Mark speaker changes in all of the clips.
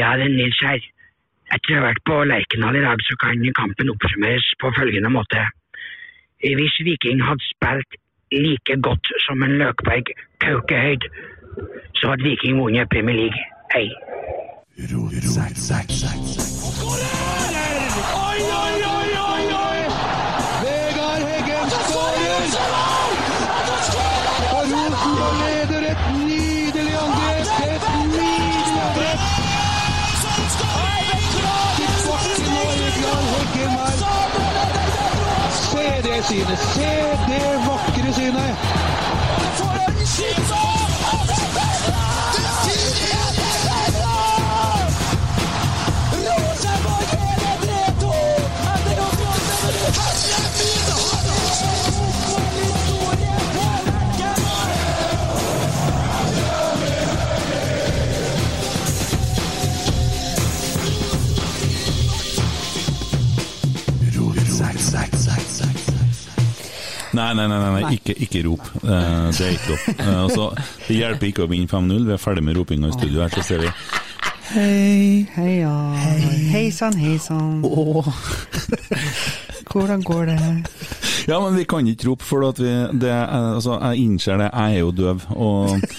Speaker 1: Ja, det er Nils her. Etter å ha vært på Lerkendal i dag, så kan kampen oppsummeres på følgende måte. Hvis Viking hadde spilt like godt som en Løkberg Kaukehøyd, så hadde Viking vunnet Premier League. Hei.
Speaker 2: Oi, oi, oi, oi, oi! Vegard Heggen skårer! Og Rosenborg leder et nydelig angrep! Et nydelig angrep! Tilbake nå, Vegard Heggen her. Se det synet! Se det vakre synet!
Speaker 3: Nei, nei, nei, nei, nei. Ikke, ikke rop. Eh, det er ikke lov. Eh, altså, det hjelper ikke å vinne 5-0. Vi er ferdig med ropinga i studio her, så ser vi
Speaker 4: Hei. Hei, ja. Hei sann, hei sann. Hvordan går det?
Speaker 3: Ja, men vi kan ikke rope, for at vi det, er- Altså, jeg innser det, jeg er jo døv, og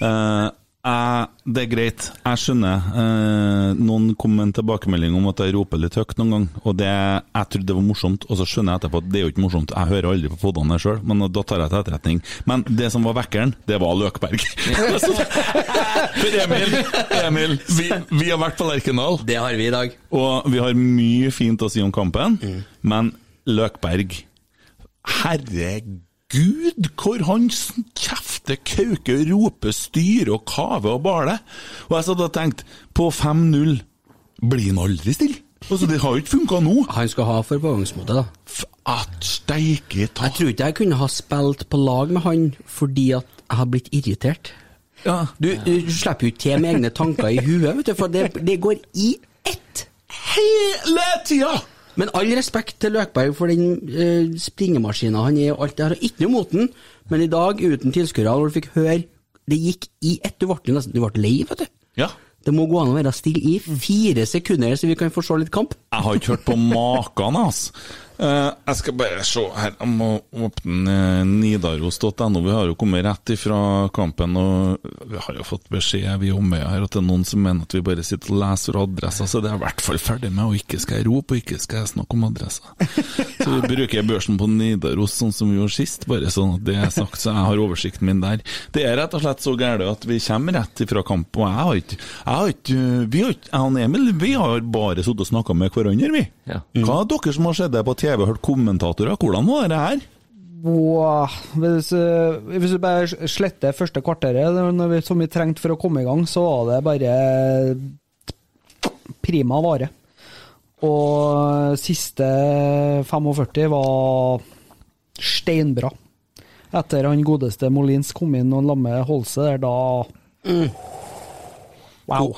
Speaker 3: eh, jeg, Det er greit, jeg skjønner. Eh, noen kom med en tilbakemelding om at jeg roper litt høyt noen gang, og det, jeg trodde det var morsomt, og så skjønner jeg etterpå at det er jo ikke morsomt. Jeg hører aldri på podene sjøl, men da tar jeg til etterretning. Men det som var vekkeren, det var Løkberg. For Emil, Emil vi, vi har vært på Lerkendal.
Speaker 5: Det har vi i dag.
Speaker 3: Og vi har mye fint å si om kampen, men Løkberg Herregud, hvor han sn- kjefter, kauker, roper, styrer og kaver og baler. Og jeg satt og tenkte, på 5-0 blir han aldri stille? Altså, det har jo ikke funka nå.
Speaker 5: Han skal ha forbavlingsmåte, da.
Speaker 3: At steike ta
Speaker 5: Jeg tror ikke jeg kunne ha spilt på lag med han fordi at jeg har blitt irritert. Du, du slipper jo ikke til med egne tanker i huet, vet du, for det, det går i ett
Speaker 3: hele tida!
Speaker 5: Men all respekt til Løkberg for den uh, springemaskina han er og alt det her, og ikke noe mot den, men i dag, uten tilskuere, hvor du fikk høre Det gikk i ett. Du ble jo nesten du ble lei, vet du.
Speaker 3: Ja.
Speaker 5: Det må gå an å være stille i fire sekunder, så vi kan få se litt kamp.
Speaker 3: Jeg har ikke hørt på maken, altså. Eh, jeg skal bare se her Jeg må åpne eh, nidaros.no. Vi har jo kommet rett ifra kampen, og vi har jo fått beskjed vi om her at det er noen som mener at vi bare sitter og leser adresser, så det er jeg i hvert fall ferdig med, og ikke skal jeg rope, og ikke skal jeg snakke om adresser. Så vi bruker børsen på Nidaros sånn som vi gjorde sist, bare sånn at det er sagt, så jeg har oversikten min der. Det er rett og slett så gærent at vi kommer rett ifra kamp, og jeg har ikke, jeg har ikke, vi har ikke, jeg og Emil, vi har bare sittet og snakka med hverandre, vi. Hva er dere som har sett det på TV og hørt kommentatorer, hvordan var det her?
Speaker 4: Wow. Hvis, eh, hvis du bare sletter første kvarteret, det var når vi, som vi trengte for å komme i gang, så var det bare prima vare. Og siste 45 var steinbra. Etter han godeste Molins kom inn og lamme Holse der, da
Speaker 6: Mm.
Speaker 4: Wow.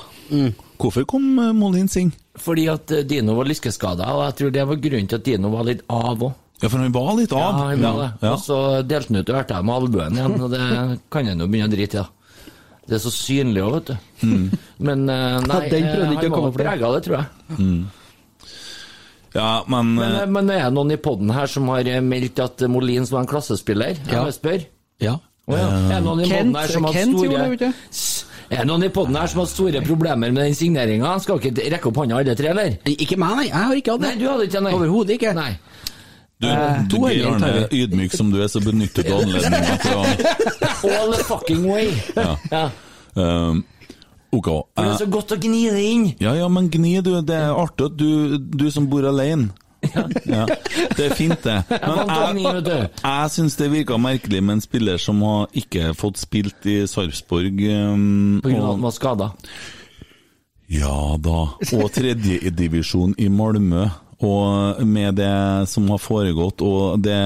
Speaker 3: Hvorfor kom eh, Molins inn?
Speaker 6: Fordi at eh, Dino var lyskeskada, og jeg tror det var grunnen til at Dino var litt av òg.
Speaker 3: Ja, for han var litt av.
Speaker 6: Ja, han var det. Og så delte han ut ørta med albuen igjen, og det kan han jo begynne å drite i. da. Det er så synlig òg, vet du. Men eh, nei,
Speaker 4: Mm. Ja, den prøvde ikke å
Speaker 6: eh, han var
Speaker 4: komme for det.
Speaker 6: prega av det, tror jeg.
Speaker 3: Mm. Ja, men,
Speaker 6: Men,
Speaker 3: eh,
Speaker 6: eh, men er det noen i poden her som har eh, meldt at eh, Molins var en klassespiller? Jeg
Speaker 3: Ja.
Speaker 6: bare spør.
Speaker 5: Ja.
Speaker 6: Å ja. Er det noen i
Speaker 4: Kent-
Speaker 6: podden her som har
Speaker 4: Kent gjorde
Speaker 6: store
Speaker 4: det, vet du.
Speaker 6: S- Er det noen i podden her som har store problemer med den signeringa? Skal ikke rekke opp hånda alle tre, eller?
Speaker 5: Ikke meg, nei. Jeg har ikke hatt det.
Speaker 6: Nei, du hadde ikke det, nei.
Speaker 5: Overhodet ikke.
Speaker 6: Nei.
Speaker 3: du,
Speaker 6: eh,
Speaker 3: du
Speaker 5: to
Speaker 3: Geir
Speaker 5: endringer tar
Speaker 3: Arne, ydmyk som du er, så benytter du anledningen til å
Speaker 6: All the fucking way.
Speaker 3: Ja.
Speaker 6: Ja.
Speaker 3: Ehm, Ok.
Speaker 6: Men det
Speaker 3: eh,
Speaker 6: er så godt å gni det inn.
Speaker 3: Ja, ja, men gni, du. Det er artig at du, du som bor alene. Ja. Det er fint, det.
Speaker 6: vant til å
Speaker 3: Men
Speaker 6: gni, vet
Speaker 3: jeg,
Speaker 6: du.
Speaker 3: jeg syns det virka merkelig med en spiller som har ikke fått spilt i Sarpsborg. ehm,
Speaker 6: På grunn av at
Speaker 3: og-
Speaker 6: han var skada.
Speaker 3: Ja da. Og tredjedivisjon i Malmö. Og med det som har foregått, og det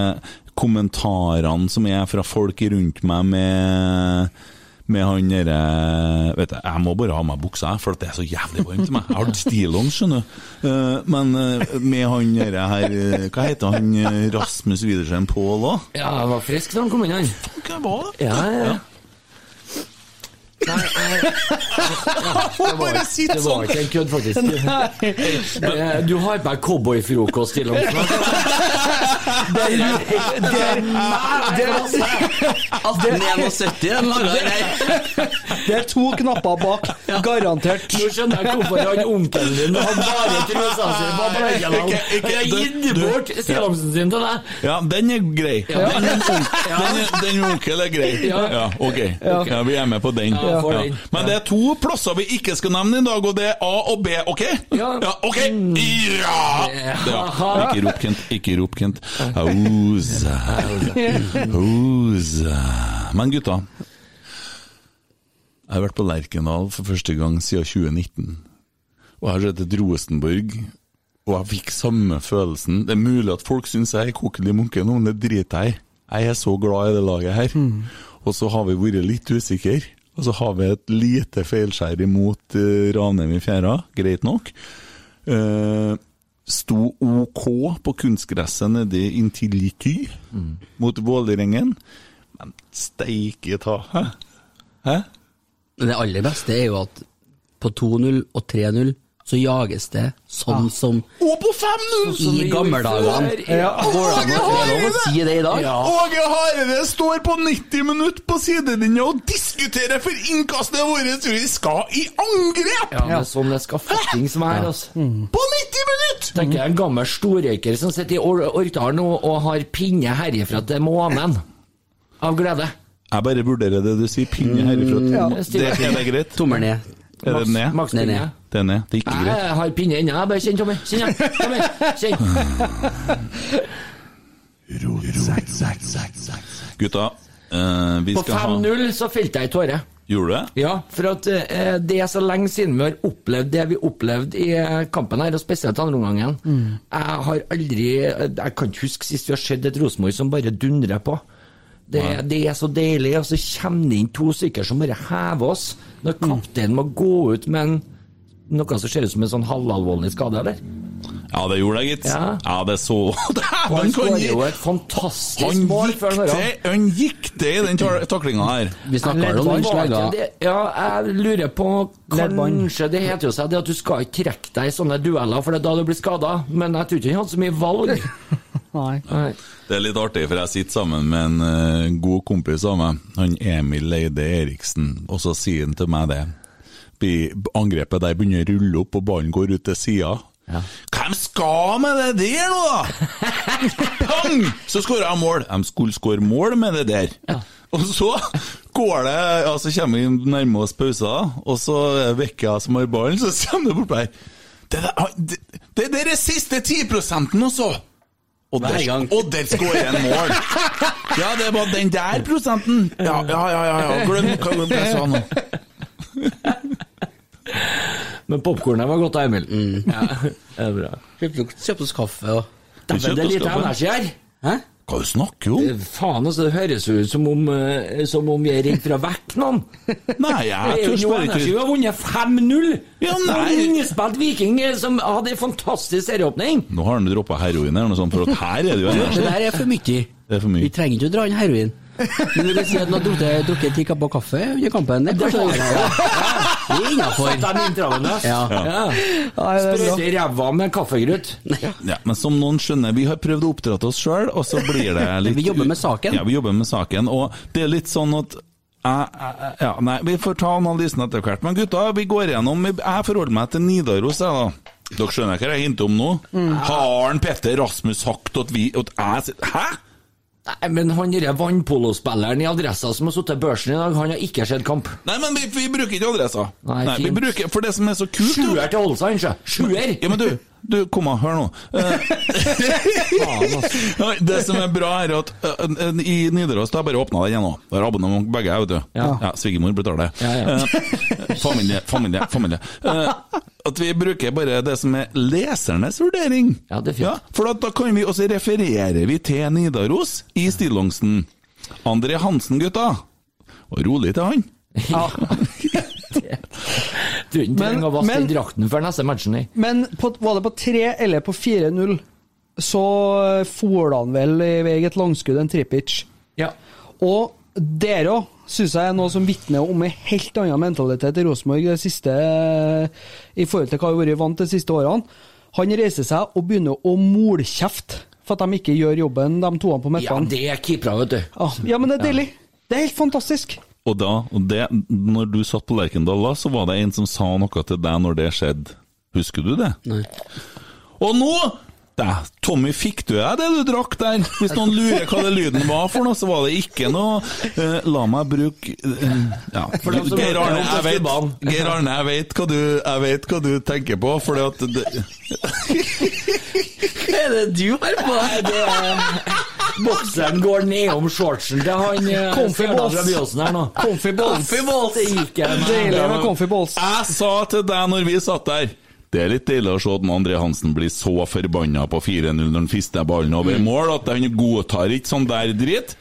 Speaker 3: kommentarene som er fra folk rundt meg med med han derre Vet du, jeg må bare ha meg buksa, jeg, for at det er så jævlig varmt i meg. Jeg har stillongs, skjønner du. Eh, Men eh, med han derre her eh, Hva heter han eh, Rasmus Widersen Pål òg?
Speaker 6: Ja, han var frisk da han kom inn, han.
Speaker 3: Hva var det?
Speaker 6: Ja, ja, ja. Nei, eh, ja, det var, det var ikke en kødd, faktisk. Eh, Du har på deg cowboyfrokost til og med. Det er det er meg! Det er-
Speaker 5: 1871 en lager her.
Speaker 4: Det er to knapper bak, garantert.
Speaker 6: Nå skjønner jeg hvorfor han onkelen din har bare trusa si på Bleikjellal.
Speaker 3: Ikke- ikke-
Speaker 6: Han har gitt
Speaker 3: du- du-
Speaker 6: bort stillongsen sin til deg.
Speaker 3: Ja, den er grei. Den, den, den onkel er grei. Ja,
Speaker 6: Ja.
Speaker 3: ok. Ja, vi er med på den.
Speaker 6: Ja, for den.
Speaker 3: Men det er to plasser vi ikke skal nevne i dag, og det er A og B, ok?
Speaker 6: Ja. Mm.
Speaker 3: ok! Ja! ja. Ikke rop, Kent. Ikke rop, Kent. Oza. Oza. Men gutta, jeg har vært på Lerkendal for første gang siden 2019. Og jeg har sett et Rosenborg og jeg fikk samme følelsen. Det er mulig at folk syns jeg er kokkelig munke nå, men det driter jeg i. Jeg er så glad i det laget her. Og så har vi vært litt usikre. Og så har vi et lite feilskjær imot eh, Ranheim i fjæra, greit nok. Eh, sto OK på kunstgresset nede inntil Ky mot Vålerengen. Men steike ta, hæ? Hæ?
Speaker 5: Men det aller beste er jo at på 2-0 og 3-0 så jages det sånn som
Speaker 3: Og på
Speaker 6: Sånn
Speaker 3: 5-0!
Speaker 5: i gamle dager.
Speaker 4: Ja.
Speaker 5: Går det an å- er det lov å si det i dag?
Speaker 3: Åge Hareide står på 90 minutter på sidelinja og diskuterer for innkastet vårt! Vi skal i angrep!
Speaker 6: Ja, det er sånn det skal fuckings være, altså.
Speaker 3: På 90 minutter!
Speaker 6: Tenker jeg en gammel storrøyker som sitter i Or- Orkdal nå og har pinne herifra til månen. Av glede.
Speaker 3: Jeg bare vurderer det du sier, pinne herifra.
Speaker 6: Mm.
Speaker 3: Det, er det greit?
Speaker 5: Tommel ned.
Speaker 3: Er det ned?
Speaker 6: Maks
Speaker 5: Nei,
Speaker 6: pinne.
Speaker 5: nei.
Speaker 3: Det er ned. Det er ikke
Speaker 6: Nei,
Speaker 3: greit.
Speaker 6: Jeg har pinne ennå, jeg. Bare kjenn, Tommy. Kjenn, ja. Kom her. Kjenn.
Speaker 3: Gutta, eh, vi
Speaker 6: På
Speaker 3: skal ha
Speaker 6: 5-0 så felte jeg ei tåre.
Speaker 3: Gjorde du det?
Speaker 6: Ja, for at eh, det er så lenge siden vi har opplevd det vi opplevde i eh, kampen her, og spesielt andre omgangen. Jeg har aldri Jeg kan ikke huske sist vi har sett et Rosenborg som bare dundrer på. Det, det er så deilig, og så kommer det inn to stykker som bare hever oss. Når kapteinen må gå ut med en, noe som ser ut som en sånn halvalvorlig skade, eller?
Speaker 3: Ja, det gjorde jeg, gitt.
Speaker 6: Ja.
Speaker 3: Ja, det så
Speaker 6: Og han
Speaker 3: Dæven, kan
Speaker 6: skårer
Speaker 3: gi
Speaker 6: jo et fantastisk
Speaker 3: Han
Speaker 6: mål
Speaker 3: gikk
Speaker 6: før han
Speaker 3: til, han gikk til i den tar- taklinga her.
Speaker 5: Vi snakka jo om den slegga.
Speaker 6: Var ikke det- Ja, jeg lurer på
Speaker 4: Leddbånd.
Speaker 6: Kanskje det heter jo seg det at du skal ikke trekke deg i sånne dueller, for det er da du blir skada. Men jeg tror ikke han hadde så mye valg.
Speaker 4: Nei.
Speaker 6: Nei.
Speaker 3: Det er litt artig, for jeg sitter sammen med en eh, god kompis av meg, han Emil Leide Eriksen, og så sier han til meg det. Bi- Angrepet der begynner å rulle opp, og ballen går ut til sida. Hvem skal med det der nå, da?! Pang! Så skårer jeg mål. De skulle skåre mål med det der. Og så går det, ja, så kommer vi nærme oss pausen, og så vekker jeg som har ballen, så kommer det bort på her. Det der, det, det der er siste 10 også! Og der,
Speaker 5: gang.
Speaker 3: og der skårer en mål! Ja, det var den der prosenten! Ja, ja, ja, ja, ja. glem hva hva jeg sa nå.
Speaker 6: Men popkornet var godt, da, Emil. Ja, det er bra.
Speaker 5: Kjøpte oss kaffe og
Speaker 6: Dæven, det er lite energi her!
Speaker 5: Hæ?
Speaker 3: Hva du snakker du om?
Speaker 6: Faen, altså, det høres ut som om, eh, som om jeg er redd for å vekke noen.
Speaker 3: Nei,
Speaker 6: Det
Speaker 3: jeg
Speaker 6: er
Speaker 3: tør
Speaker 6: jo noe
Speaker 3: bare ikke
Speaker 6: energi. Vi har vunnet 5-0!
Speaker 3: Ja, nei.
Speaker 6: Og Ingespilt Viking eh, som hadde en fantastisk serieåpning.
Speaker 3: Nå har han droppa heroin eller noe sånt, for at her er det jo
Speaker 5: Det
Speaker 3: energi.
Speaker 5: der er for mye.
Speaker 3: Det er for
Speaker 5: Vi
Speaker 3: mye.
Speaker 5: trenger ikke å dra inn heroin. Men du kan si at han har drukket- drukket ti kapper kaffe under kampen. Det er kanskje Det er
Speaker 6: Satt
Speaker 5: innafor.
Speaker 6: dem intravenøst.
Speaker 5: Ja.
Speaker 6: Ja.
Speaker 4: Nei, det er bra.
Speaker 6: Sprøyte i ræva med kaffegrøt.
Speaker 3: Ja, men som noen skjønner, vi har prøvd å oppdra oss sjøl, og så blir det litt
Speaker 5: Vi jobber med saken.
Speaker 3: Ja, vi jobber med saken, og det er litt sånn at jeg- jeg- ja, nei, Vi får ta analysen etter hvert. Men gutta, vi går gjennom Jeg forholder meg til Nidaros, jeg, da. Dere skjønner hva jeg hinter om nå?
Speaker 5: Mm.
Speaker 3: Har han Petter Rasmus sagt at vi at jeg sier- Hæ?!
Speaker 6: Nei, men han derre vannpolospilleren i Adressa som har sittet i børsen i dag, han har ikke sett kamp.
Speaker 3: Nei, men vi, vi bruker ikke adressa.
Speaker 6: Nei,
Speaker 3: vi
Speaker 6: fint.
Speaker 3: bruker, for det som er så kult
Speaker 6: Sjuer til Olsand, sjø. Sjuer!
Speaker 3: Ja, men du, du kom an, hør nå. Eh,
Speaker 6: Faen, altså.
Speaker 3: Ja, Det som er bra, er at ø, ø, i Nidaros da har jeg bare åpna den igjen nå. Da har abonnement begge, jeg, vet du. Ja. Svigermor betaler.
Speaker 6: Ja, ja.
Speaker 3: Eh, familie, familie, familie. Eh, at vi bruker bare det som er lesernes vurdering.
Speaker 6: Ja, det er fint.
Speaker 3: for at da kan vi også referere vi til Nidaros i stillongsen. André Hansen, gutta. Og rolig til han.
Speaker 6: Du trenger
Speaker 4: Men-
Speaker 6: ikke å vaske
Speaker 4: men-
Speaker 6: drakten før neste matchen, nei.
Speaker 4: Men på, var det på 3 eller på 4-0, så eh, for han vel i eget langskudd en Trippic.
Speaker 6: Ja.
Speaker 4: Og der òg syns jeg er noe som vitner om en helt annen mentalitet i Rosenborg det siste, i forhold til hva vi har vært vant til de siste årene. Han reiser seg og begynner å molkjefte for at de ikke gjør jobben, de toene på
Speaker 6: ja,
Speaker 4: midtbanen.
Speaker 6: det er keepere, vet du.
Speaker 4: Ah, Ja, men det er deilig. Det er helt fantastisk.
Speaker 3: Og da, og det, når du satt på Lerkendal da, så var det en som sa noe til deg når det skjedde. Husker du det?
Speaker 5: Nei.
Speaker 3: Og nå Dæ, Tommy, fikk du deg det du drakk der? Hvis noen lurer hva det lyden var for noe, så var det ikke noe eh, La meg bruke eh, ja.
Speaker 6: For dem som
Speaker 3: Geir Arne,
Speaker 6: hørte
Speaker 3: jeg
Speaker 6: om
Speaker 3: vet,
Speaker 6: Tøftebanen.
Speaker 3: Geir Arne, jeg vet hva du, jeg vet hva du tenker på, fordi at det,
Speaker 6: Hva er det du har på deg? Det er um, Bokseren går nedom shortsen til han eh,
Speaker 4: Comfy
Speaker 6: Stjernadal
Speaker 4: balls.
Speaker 6: fra Byåsen her nå.
Speaker 4: Comfy balls.
Speaker 6: Comfy balls. Det gikk jeg med.
Speaker 4: Deilig med comfy balls.
Speaker 3: Jeg sa til deg når vi satt der det er litt deilig å se at André Hansen blir så forbanna på 4-0 når han fister ballen over
Speaker 4: Mm.
Speaker 3: mål, at han godtar ikke sånn der dritt.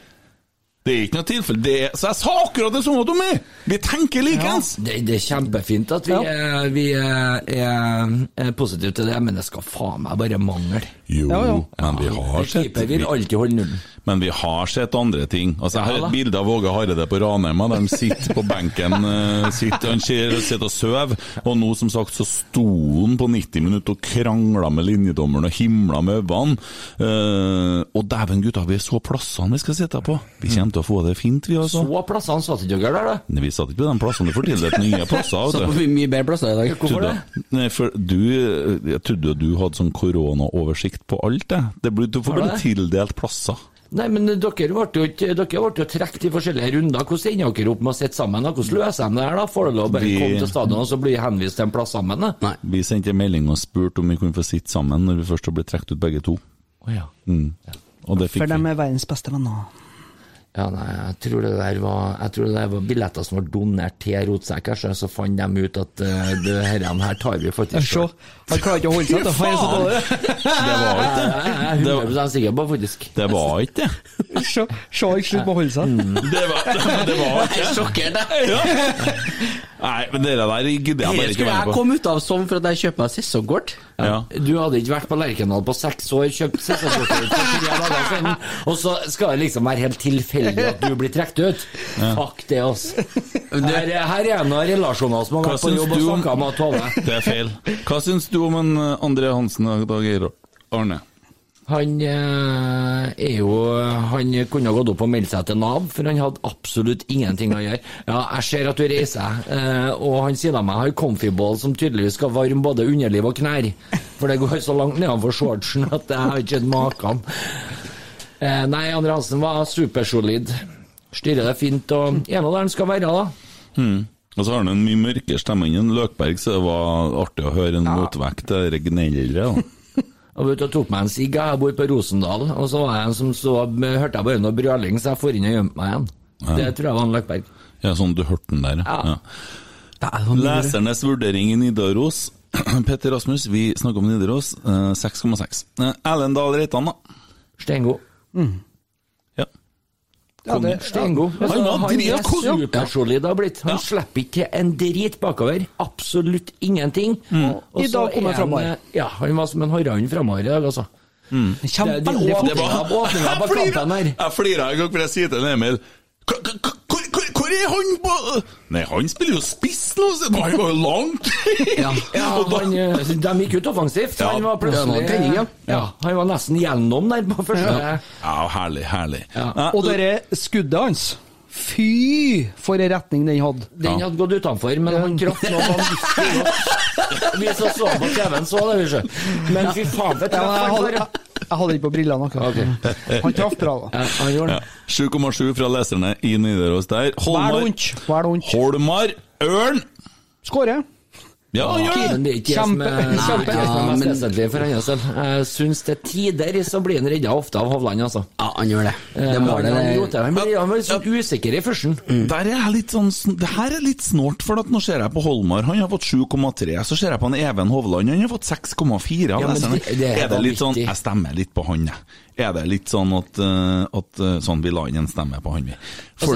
Speaker 3: Det er ikke noe tilfelle. Det er, så jeg sa akkurat det samme, Tommy! Vi tenker likens!
Speaker 6: Det, det er kjempefint at vi,
Speaker 4: Ja.
Speaker 6: er, vi er, er, er positive til det, men det skal faen meg bare mangle.
Speaker 3: Jo,
Speaker 4: Ja, ja.
Speaker 3: men vi har sett
Speaker 6: Keeper vil alltid holde nullen.
Speaker 3: Men vi har sett andre ting. Altså, Jeg har
Speaker 6: Ja, da.
Speaker 3: et bilde av Åge Hareide på Ranheima, der de sitter på benken eh, sitter, han sier- sitter og sover. Og nå, som sagt, så sto han på 90 minutter og krangla med linjedommeren og himla med øynene. Eh, og dæven, gutta, vi så plassene vi skal sitte på! Vi kommer til å få det fint, vi altså.
Speaker 6: Mm. Så plassene satt ikke dere der, da.
Speaker 3: Nei, Vi satt ikke på de plassene, du får tildelt nye plasser.
Speaker 5: Så
Speaker 3: vet du.
Speaker 5: får vi mye bedre plasser i dag.
Speaker 6: Hvorfor det?
Speaker 3: Nei, for du, jeg trodde jo du hadde sånn koronaoversikt på alt, jeg. Det blir- Du
Speaker 6: Har
Speaker 3: får
Speaker 6: du
Speaker 3: bare tildelt plasser.
Speaker 6: Nei, men dere ble jo, ikke- dere ble jo trukket i forskjellige runder. Hvordan ender dere opp med å sitte sammen? da? Hvordan løser de det her, da? Får dere lov å bare
Speaker 3: Vi-
Speaker 6: komme til stadion og så bli henvist til en plass sammen? da?
Speaker 5: Nei.
Speaker 3: Vi sendte en melding og spurte om vi kunne få sitte sammen når vi først ble trukket ut begge to.
Speaker 6: Å ja.
Speaker 3: Og det fikk
Speaker 4: For de
Speaker 3: vi.
Speaker 4: er verdens beste venner.
Speaker 6: Ja, nei, jeg tror det der var, jeg tror det der var billetter som var donert til rotsekker, så, så fant de ut at uh, det her, den her tar vi faktisk
Speaker 4: Se,
Speaker 6: selv.
Speaker 4: han klarer ikke å holde seg til han er så dårlig.
Speaker 3: Det var
Speaker 6: Jeg
Speaker 3: ikke det.
Speaker 6: jeg er 100 sikker på faktisk.
Speaker 3: Det var ikke det.
Speaker 4: Se, se, han slutter med å holde
Speaker 5: Mm.
Speaker 4: seg.
Speaker 3: Det var, det var ikke det.
Speaker 5: Sjokkert,
Speaker 3: Ja. Nei, men det der gidder jeg bare ikke
Speaker 5: Skulle
Speaker 3: være
Speaker 5: jeg
Speaker 3: med på.
Speaker 5: komme ut av sånn for at jeg kjøper meg sesongkort?
Speaker 3: Ja.
Speaker 6: Du hadde ikke vært på Lerkendal på seks år, kjøpt sesongkortet for tre dager siden, og så skal det liksom være helt tilfeldig at du blir trukket ut? Fuck det, altså. Her, her er en av relasjonene som har
Speaker 3: Hva
Speaker 6: vært på
Speaker 3: syns
Speaker 6: jobb og
Speaker 3: du om-
Speaker 6: snakka med Tove.
Speaker 3: Det er feil. Hva syns du om en eh, André Hansen i dag, Geir Arne?
Speaker 6: Han eh, er jo Han kunne ha gått opp og meldt seg til Nav, for han hadde absolutt ingenting å gjøre. Ja, jeg ser at du reiser deg, eh, og han sier meg har comfyball som tydeligvis skal varme både underliv og knær. For det går så langt nedenfor shortsen at jeg har ikke sett maken. Eh, nei, Andre Hansen var supersolid. Styrer det fint, og er nå der han skal være, da.
Speaker 3: Og så har han en mye mørkere stemme enn en Løkberg, så det var artig å høre en motvekt til det gnellere. da.
Speaker 6: Jeg var ute og tok meg en sigg, jeg. jeg bor på Rosendal, og så var jeg en som så, hørte jeg bare noe brøling, så jeg for inn og gjemte meg igjen. Det tror jeg var han Løkberg.
Speaker 3: Ja, sånn du hørte den der,
Speaker 6: Ja.
Speaker 3: ja. Lesernes vurdering i Nidaros. Petter Rasmus, vi snakker om Nidaros. eh, 6,6. Eh, Erlend Dahl Reitan, da?
Speaker 6: Stengo.
Speaker 4: Mm.
Speaker 3: Ja.
Speaker 6: Ja, det, Stengo.
Speaker 3: Han
Speaker 6: Altså,
Speaker 3: var
Speaker 6: han er
Speaker 3: dritgod.
Speaker 6: supersolid har blitt. Han slipper ikke en drit bakover. Absolutt ingenting. Og
Speaker 4: I
Speaker 6: så
Speaker 4: dag kom
Speaker 6: er
Speaker 4: han framover.
Speaker 6: eh, Ja, han var som en harand framover i dag, altså. Det- de
Speaker 3: Det var-
Speaker 6: åpninga- åpninga på
Speaker 3: Jeg flirer-
Speaker 6: kampen her.
Speaker 3: Jeg flirer en gang for jeg sier til Emil "Hvor- hvor- hvor- hvor- Hvor er han på Nei, han spiller jo spiss nå, så han var jo langt!
Speaker 6: Ja, han, eh, de gikk ut offensivt.
Speaker 3: Ja,
Speaker 6: Han var
Speaker 3: det var
Speaker 6: plutselig
Speaker 3: en tenning, ja.
Speaker 6: Ja, Han var nesten gjennom der på første
Speaker 3: Ja. Ja, herlig, herlig.
Speaker 4: Og dette skuddet hans Fy, for en retning den hadde.
Speaker 6: Den hadde gått utenfor, men han traff noe vanvittig godt. Vi som så på TV-en, så det, vi ser. Men fy faen, det
Speaker 4: Ja,
Speaker 6: traff
Speaker 4: jeg
Speaker 6: han
Speaker 4: hadde-
Speaker 6: bare.
Speaker 4: Jeg hadde ikke på brillene akkurat. Han traff bra, da.
Speaker 3: Ja. 7,7 fra leserne i Nidaros der. Holmar, Holmar Ørn!
Speaker 4: Skårer.
Speaker 3: Ja, han gjør
Speaker 6: Men det er
Speaker 3: det!
Speaker 6: ikke jeg som er- det er ikke jeg som er mest
Speaker 3: men-
Speaker 6: vesentlig for hans del. Jeg syns til tider så blir han redda ofte av Hovland, altså.
Speaker 5: Ja, han gjør det.
Speaker 6: Eh,
Speaker 5: må
Speaker 6: han-
Speaker 5: det-
Speaker 6: han gjorde det. Han blir han blir sånn usikker i førsten.
Speaker 3: Der er jeg litt sånn, sn- det her er litt snålt, for at nå ser jeg på Holmar, han har fått 7,3. Så ser jeg på han Even Hovland, han har fått 6,4. av
Speaker 6: Ja, men
Speaker 3: leserne.
Speaker 6: det- det er
Speaker 3: er det litt sånn,
Speaker 6: vanvittig.
Speaker 3: Jeg stemmer litt på han, jeg. Er det litt sånn at, eh, at eh, sånn vil han en stemme på han, vi. For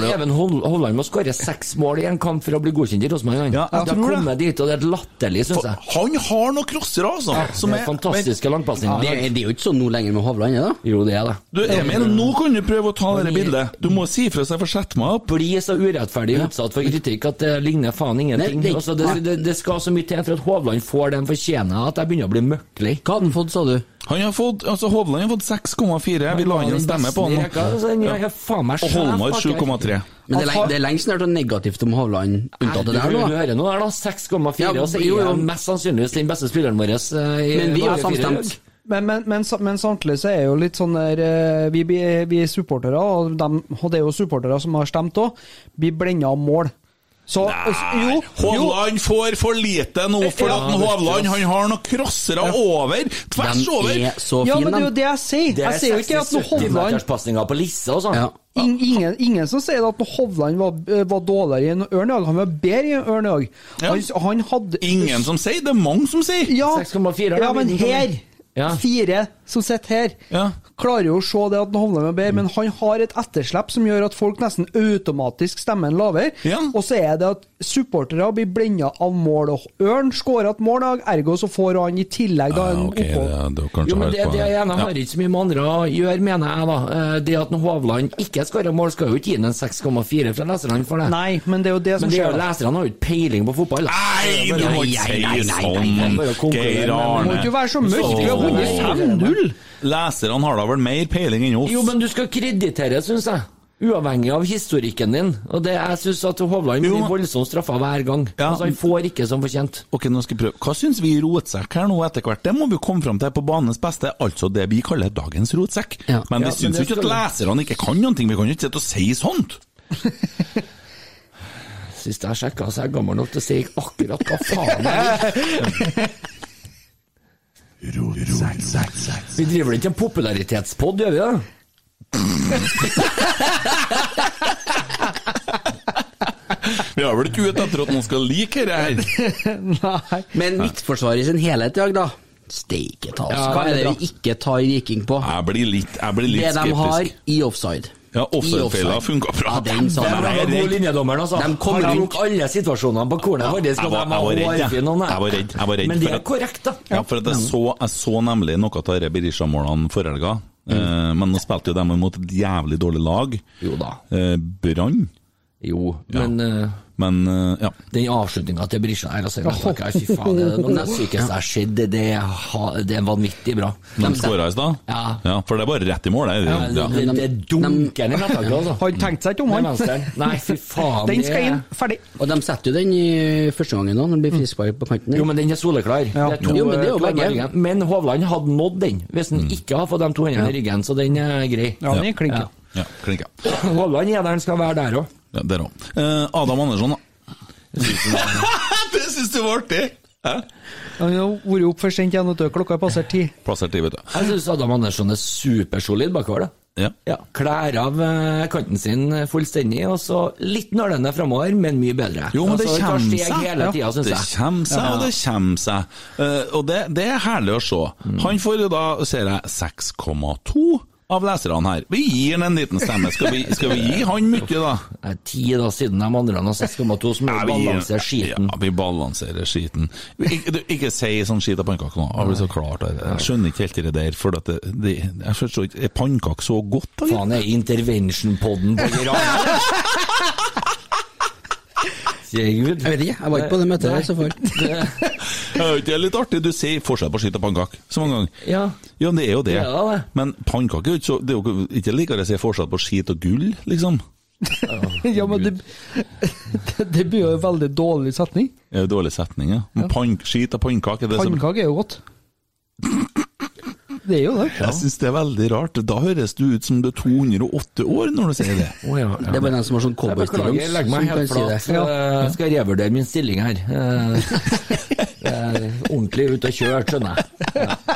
Speaker 6: Altså,
Speaker 3: det-
Speaker 6: Even Hol- Hovland må skåre seks mål i en kamp for å bli godkjent i Rosenborg. han.
Speaker 3: Ja, jeg
Speaker 6: De har
Speaker 3: tror det.
Speaker 6: kommet dit, og det er helt latterlig, syns
Speaker 3: for
Speaker 6: jeg.
Speaker 3: han har noen crossere, altså!
Speaker 6: Ja,
Speaker 3: som
Speaker 6: det er fantastiske langpasninger.
Speaker 3: Ja,
Speaker 5: det, er- det er jo ikke sånn nå lenger med Hovland, er det?
Speaker 6: Jo, det er det.
Speaker 3: Du, Emil, nå kan du prøve å ta det bildet. Du må si fra så jeg får sett meg opp.
Speaker 6: Bli så urettferdig utsatt for kritikk at det ligner faen ingenting.
Speaker 5: Nei, det-
Speaker 6: altså, det, det, det skal så mye til for at Hovland får den fortjener at jeg begynner å bli møkklig.
Speaker 5: Hva hadde han fått, sa du?
Speaker 3: Han har fått, altså Hovland har fått 6,4. Jeg vil ha inn en stemme på han. nå. Ja. Og Holmar 7,3.
Speaker 5: Men det er, lenge, det er lenge siden jeg har hørt noe negativt om Hovland, unntatt det der
Speaker 6: Du
Speaker 5: nå. da.
Speaker 6: hører nå der, da. 6,4.
Speaker 5: Ja,
Speaker 6: og så er
Speaker 5: jo, jo.
Speaker 6: han mest sannsynligvis den beste spilleren vår. eh, i
Speaker 5: Men vi har
Speaker 6: Norge fire
Speaker 5: samstemt.
Speaker 6: lag.
Speaker 4: Men, men, men, sam- men samtidig så er jo litt sånn der eh, Vi, blir- vi er supportere, og, dem, og det er jo supportere som har stemt òg, blir blenda av mål. Så
Speaker 3: Nei,
Speaker 4: jo, jo.
Speaker 3: Hovland får for lite nå, for
Speaker 4: Ja,
Speaker 3: at Hovland han har noen crossere over! Tvers
Speaker 5: De
Speaker 3: over!
Speaker 5: er så
Speaker 4: Ja,
Speaker 5: fine,
Speaker 4: men det er jo
Speaker 5: de.
Speaker 4: det jeg sier.
Speaker 6: Det er
Speaker 4: Jeg sier jo ikke at noe
Speaker 6: 60-70
Speaker 4: Hovland
Speaker 6: meterspasninger på Lisse, altså.
Speaker 5: Ja.
Speaker 4: ing, ingen, ingen som sier at noe Hovland var, eh, var dårligere enn Ørn i dag. Han var bedre enn Ørn i dag. Han, han hadde
Speaker 3: Ingen som sier, det er mange som sier!
Speaker 4: Ja, ja,
Speaker 6: 6,4 da,
Speaker 4: men
Speaker 6: blir den
Speaker 4: her,
Speaker 6: kommet. Ja.
Speaker 4: fire som sitter her,
Speaker 3: Ja.
Speaker 4: klarer jo å se det at Hovland er bedre, men han har et etterslepp som gjør at folk nesten automatisk stemmer han lavere.
Speaker 3: Ja.
Speaker 4: Og så er det at supportere blir blenda av mål, og Ørn skårer et mål, da, ergo så får han i tillegg da en opphold.
Speaker 6: Jo, men det, det ene har ikke så mye med andre å gjøre, mener jeg, da. Eh, Det at når Hovland ikke skårer mål, skal jo ikke gi ham en 6,4 fra leserne for det.
Speaker 4: Nei, men det er jo det som
Speaker 6: Men det er
Speaker 4: skjer.
Speaker 6: jo
Speaker 4: da.
Speaker 6: leserne har jo ikke peiling på fotball. da.
Speaker 3: Nei,
Speaker 6: Det er
Speaker 3: du
Speaker 6: bare-
Speaker 3: må
Speaker 6: Nei,
Speaker 3: ikke
Speaker 6: nei, nei,
Speaker 3: si
Speaker 6: nei, nei,
Speaker 3: sånn,
Speaker 6: nei, bare å konkludere,
Speaker 3: Geir
Speaker 6: men-
Speaker 4: Må
Speaker 3: Arne.
Speaker 4: ikke være så mørkt, vi har vunnet 5-0!
Speaker 3: Sånn. Leserne har da vel mer peiling enn oss?
Speaker 6: Jo, men du skal kreditere, syns jeg. Uavhengig av historikken din. Og det jeg syns at Hovland
Speaker 3: Jo,
Speaker 6: blir
Speaker 3: men-
Speaker 6: voldsomt straffa hver gang.
Speaker 3: Ja.
Speaker 6: Altså, han får ikke som fortjent.
Speaker 3: Ok, nå skal jeg prøve. Hva syns vi i rotsekk her nå etter hvert? Det må vi jo komme fram til på banens beste, altså det vi kaller dagens rotsekk.
Speaker 5: Ja.
Speaker 3: Men
Speaker 6: Ja,
Speaker 3: vi
Speaker 6: men
Speaker 3: syns jo
Speaker 6: det
Speaker 3: ikke at
Speaker 6: skal vi-
Speaker 3: leserne ikke kan noen ting, vi kan jo ikke sitte og si sånt!
Speaker 6: Sist jeg sjekka, så er jeg gammel nok til å si akkurat hva faen jeg vil. Vi driver ikke en popularitetspod, gjør vi det?
Speaker 3: Vi er vel ikke ute etter at noen skal like det her?
Speaker 4: Nei.
Speaker 5: Men midtforsvaret i sin helhet i dag, da. Steike ta oss.
Speaker 4: Ja,
Speaker 5: Hva
Speaker 4: det
Speaker 5: er
Speaker 4: er
Speaker 5: det vi ikke tar Viking på?
Speaker 3: Jeg blir litt, jeg blir litt
Speaker 5: Det de har
Speaker 3: skeptisk.
Speaker 5: i offside.
Speaker 3: Ja,
Speaker 5: I
Speaker 3: offside-feila funka bra.
Speaker 5: Ja, den sa de.
Speaker 3: Jeg ble
Speaker 6: Det var god
Speaker 3: redd.
Speaker 6: linjedommeren, altså.
Speaker 5: De kom
Speaker 6: Han
Speaker 5: rundt.
Speaker 6: tok alle situasjonene på kornet. faktisk,
Speaker 3: jeg
Speaker 6: og
Speaker 3: var-
Speaker 6: de var
Speaker 3: jeg var redd, ja.
Speaker 6: hårfine, og nei.
Speaker 3: Jeg var redd, jeg var redd
Speaker 6: Men det
Speaker 3: for
Speaker 6: er
Speaker 3: at-
Speaker 6: korrekt, da.
Speaker 3: Ja, for at jeg så, jeg så nemlig noe av disse Berisha-målene forrige helga.
Speaker 5: Mm.
Speaker 3: Eh, men nå spilte jo de mot et jævlig dårlig lag.
Speaker 6: Jo da.
Speaker 3: Eh, Brann.
Speaker 6: Jo, men eh,
Speaker 3: Men eh, ja.
Speaker 6: den avslutninga til Brisja her, altså, jeg vet ikke, jeg, fy faen, det er noe av det sykeste jeg har sett. Det, det, er ha- det er vanvittig bra.
Speaker 3: De skåra i stad?
Speaker 6: Ja.
Speaker 3: For det er bare rett i mål, det.
Speaker 6: Men
Speaker 3: Ja.
Speaker 6: Det, det dunker ned nettaket, altså.
Speaker 4: Han tenkte seg ikke om, han.
Speaker 6: Med venstre. Nei, fy faen.
Speaker 4: Den
Speaker 6: det
Speaker 4: skal
Speaker 6: er-
Speaker 4: inn, ferdig.
Speaker 5: Og de setter jo den i første gangen da, når det blir frispark på kanten. der.
Speaker 4: Mm.
Speaker 6: Jo, men den er soleklar. Det er to
Speaker 5: Jo, men det er jo
Speaker 6: eh,
Speaker 5: begge.
Speaker 6: klarmeldinger. Men Hovland hadde nådd den, hvis han ikke hadde fått de to hendene i ryggen, så den er grei.
Speaker 4: Ja, den klinker.
Speaker 6: Ja.
Speaker 3: ja Klinka.
Speaker 6: Hovland er der han skal være der òg.
Speaker 3: Ja, der òg. Eh, Adam Andersson, da. det syns du var artig! Hæ?
Speaker 4: Han har vært opp for sent igjen, vet du. klokka er passert ti.
Speaker 3: Plassert i, vet du.
Speaker 6: Jeg syns Adam Andersson er supersolid bakover, da. Ja, Klær av eh, kanten sin fullstendig, og så litt nølende framover, men mye bedre.
Speaker 3: Jo, men det
Speaker 6: Altså, tar
Speaker 3: kommer
Speaker 6: steg
Speaker 3: seg.
Speaker 6: Hele tida,
Speaker 3: Ja,
Speaker 6: synes
Speaker 3: det
Speaker 6: jeg.
Speaker 3: kommer seg, og det kommer seg. Eh, og det, det er herlig å se.
Speaker 6: Mm.
Speaker 3: Han får jo da, ser jeg, 6,2 av leserne her. Vi gir han en liten stemme. Skal vi, skal vi gi han mye, da?
Speaker 6: Det er ti da siden de andre har 6,2, så må vi balansere skiten.
Speaker 3: Ja, vi balanserer skiten. Ikke, du, ikke si sånn skit av pannekaker nå. Jeg blir så klart der. Jeg skjønner ikke helt det der. For at det, det, jeg forstår ikke Er pannekaker så godt, da?
Speaker 6: Faen, er intervention-podden på Iran? Jeg vet
Speaker 5: ikke, jeg var ikke på det møtet
Speaker 6: Nei.
Speaker 5: der, i så fall.
Speaker 3: Ja, Det er litt artig, du sier forskjell på skitt og pannekake så mange ganger.
Speaker 6: Ja.
Speaker 3: det er jo det.
Speaker 6: Ja, det.
Speaker 3: Men pannekake er jo ikke så- det er jo ikke- ikke likere å si forskjell på skit og gull, liksom.
Speaker 4: ja, men det, det, det blir jo en veldig dårlig setning.
Speaker 3: Det er jo dårlig setning, ja. Men pann, skit og pannekake er det som
Speaker 4: Pannekake er jo godt. Det er jo det.
Speaker 3: Jeg syns det er veldig rart. Da høres du ut som du er 208 år når du sier det.
Speaker 6: Å, ja, ja.
Speaker 5: Det er bare den som har sånn
Speaker 6: Jeg beklager, jeg legger meg helt
Speaker 5: cowboystilling.
Speaker 6: flat. Eh, Skal jeg revurdere min stilling her. Eh, jeg er ordentlig ute og kjørt, skjønner jeg. Ja.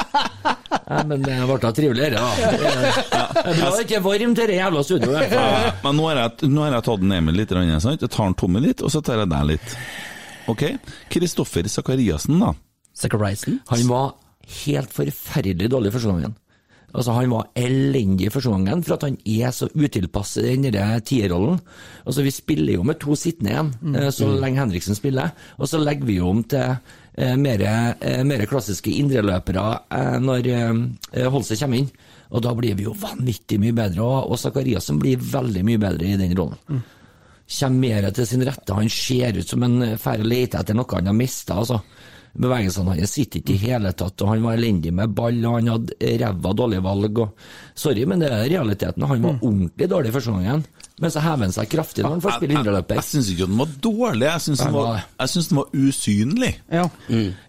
Speaker 6: Nei, men det ble da triveligere, da. Det er bra det ikke er varmt i det jævla studioet.
Speaker 3: Ja, Men nå har jeg, nå har jeg tatt den Emil litt, grann, sant? jeg tar den Tommy litt, og så tar jeg deg litt. Ok? Kristoffer Sakariassen, da.
Speaker 5: Sakariassen?
Speaker 6: Han var helt forferdelig dårlig første gangen. Altså, han var elendig første gangen, for at han er så utilpass i den der tierrollen. Altså, vi spiller jo med to sittende igjen, eh, så lenge Henriksen spiller. Og så legger vi jo om til eh, mer, eh, mer klassiske indreløpere eh, når eh, Holse kommer inn. Og da blir vi jo vanvittig mye bedre, og, og Zakariassen blir veldig mye bedre i den rollen kommer mer til sin rette. Han ser ut som en eh, fær leter etter noe han har mista. Altså. Bevegelsene hans sitter ikke i
Speaker 3: Mm.
Speaker 6: hele tatt, og han var elendig med ball, og han hadde ræva dårlige valg. Og... Sorry, men det er realiteten. Han
Speaker 3: Mm.
Speaker 6: var ordentlig dårlig første gangen, men så hever han seg kraftig når han får spille indreløper.
Speaker 3: Jeg syns ikke den var dårlig, jeg syns den,
Speaker 6: Nei,
Speaker 3: var-
Speaker 6: nei.
Speaker 3: jeg synes den var usynlig.
Speaker 4: Ja.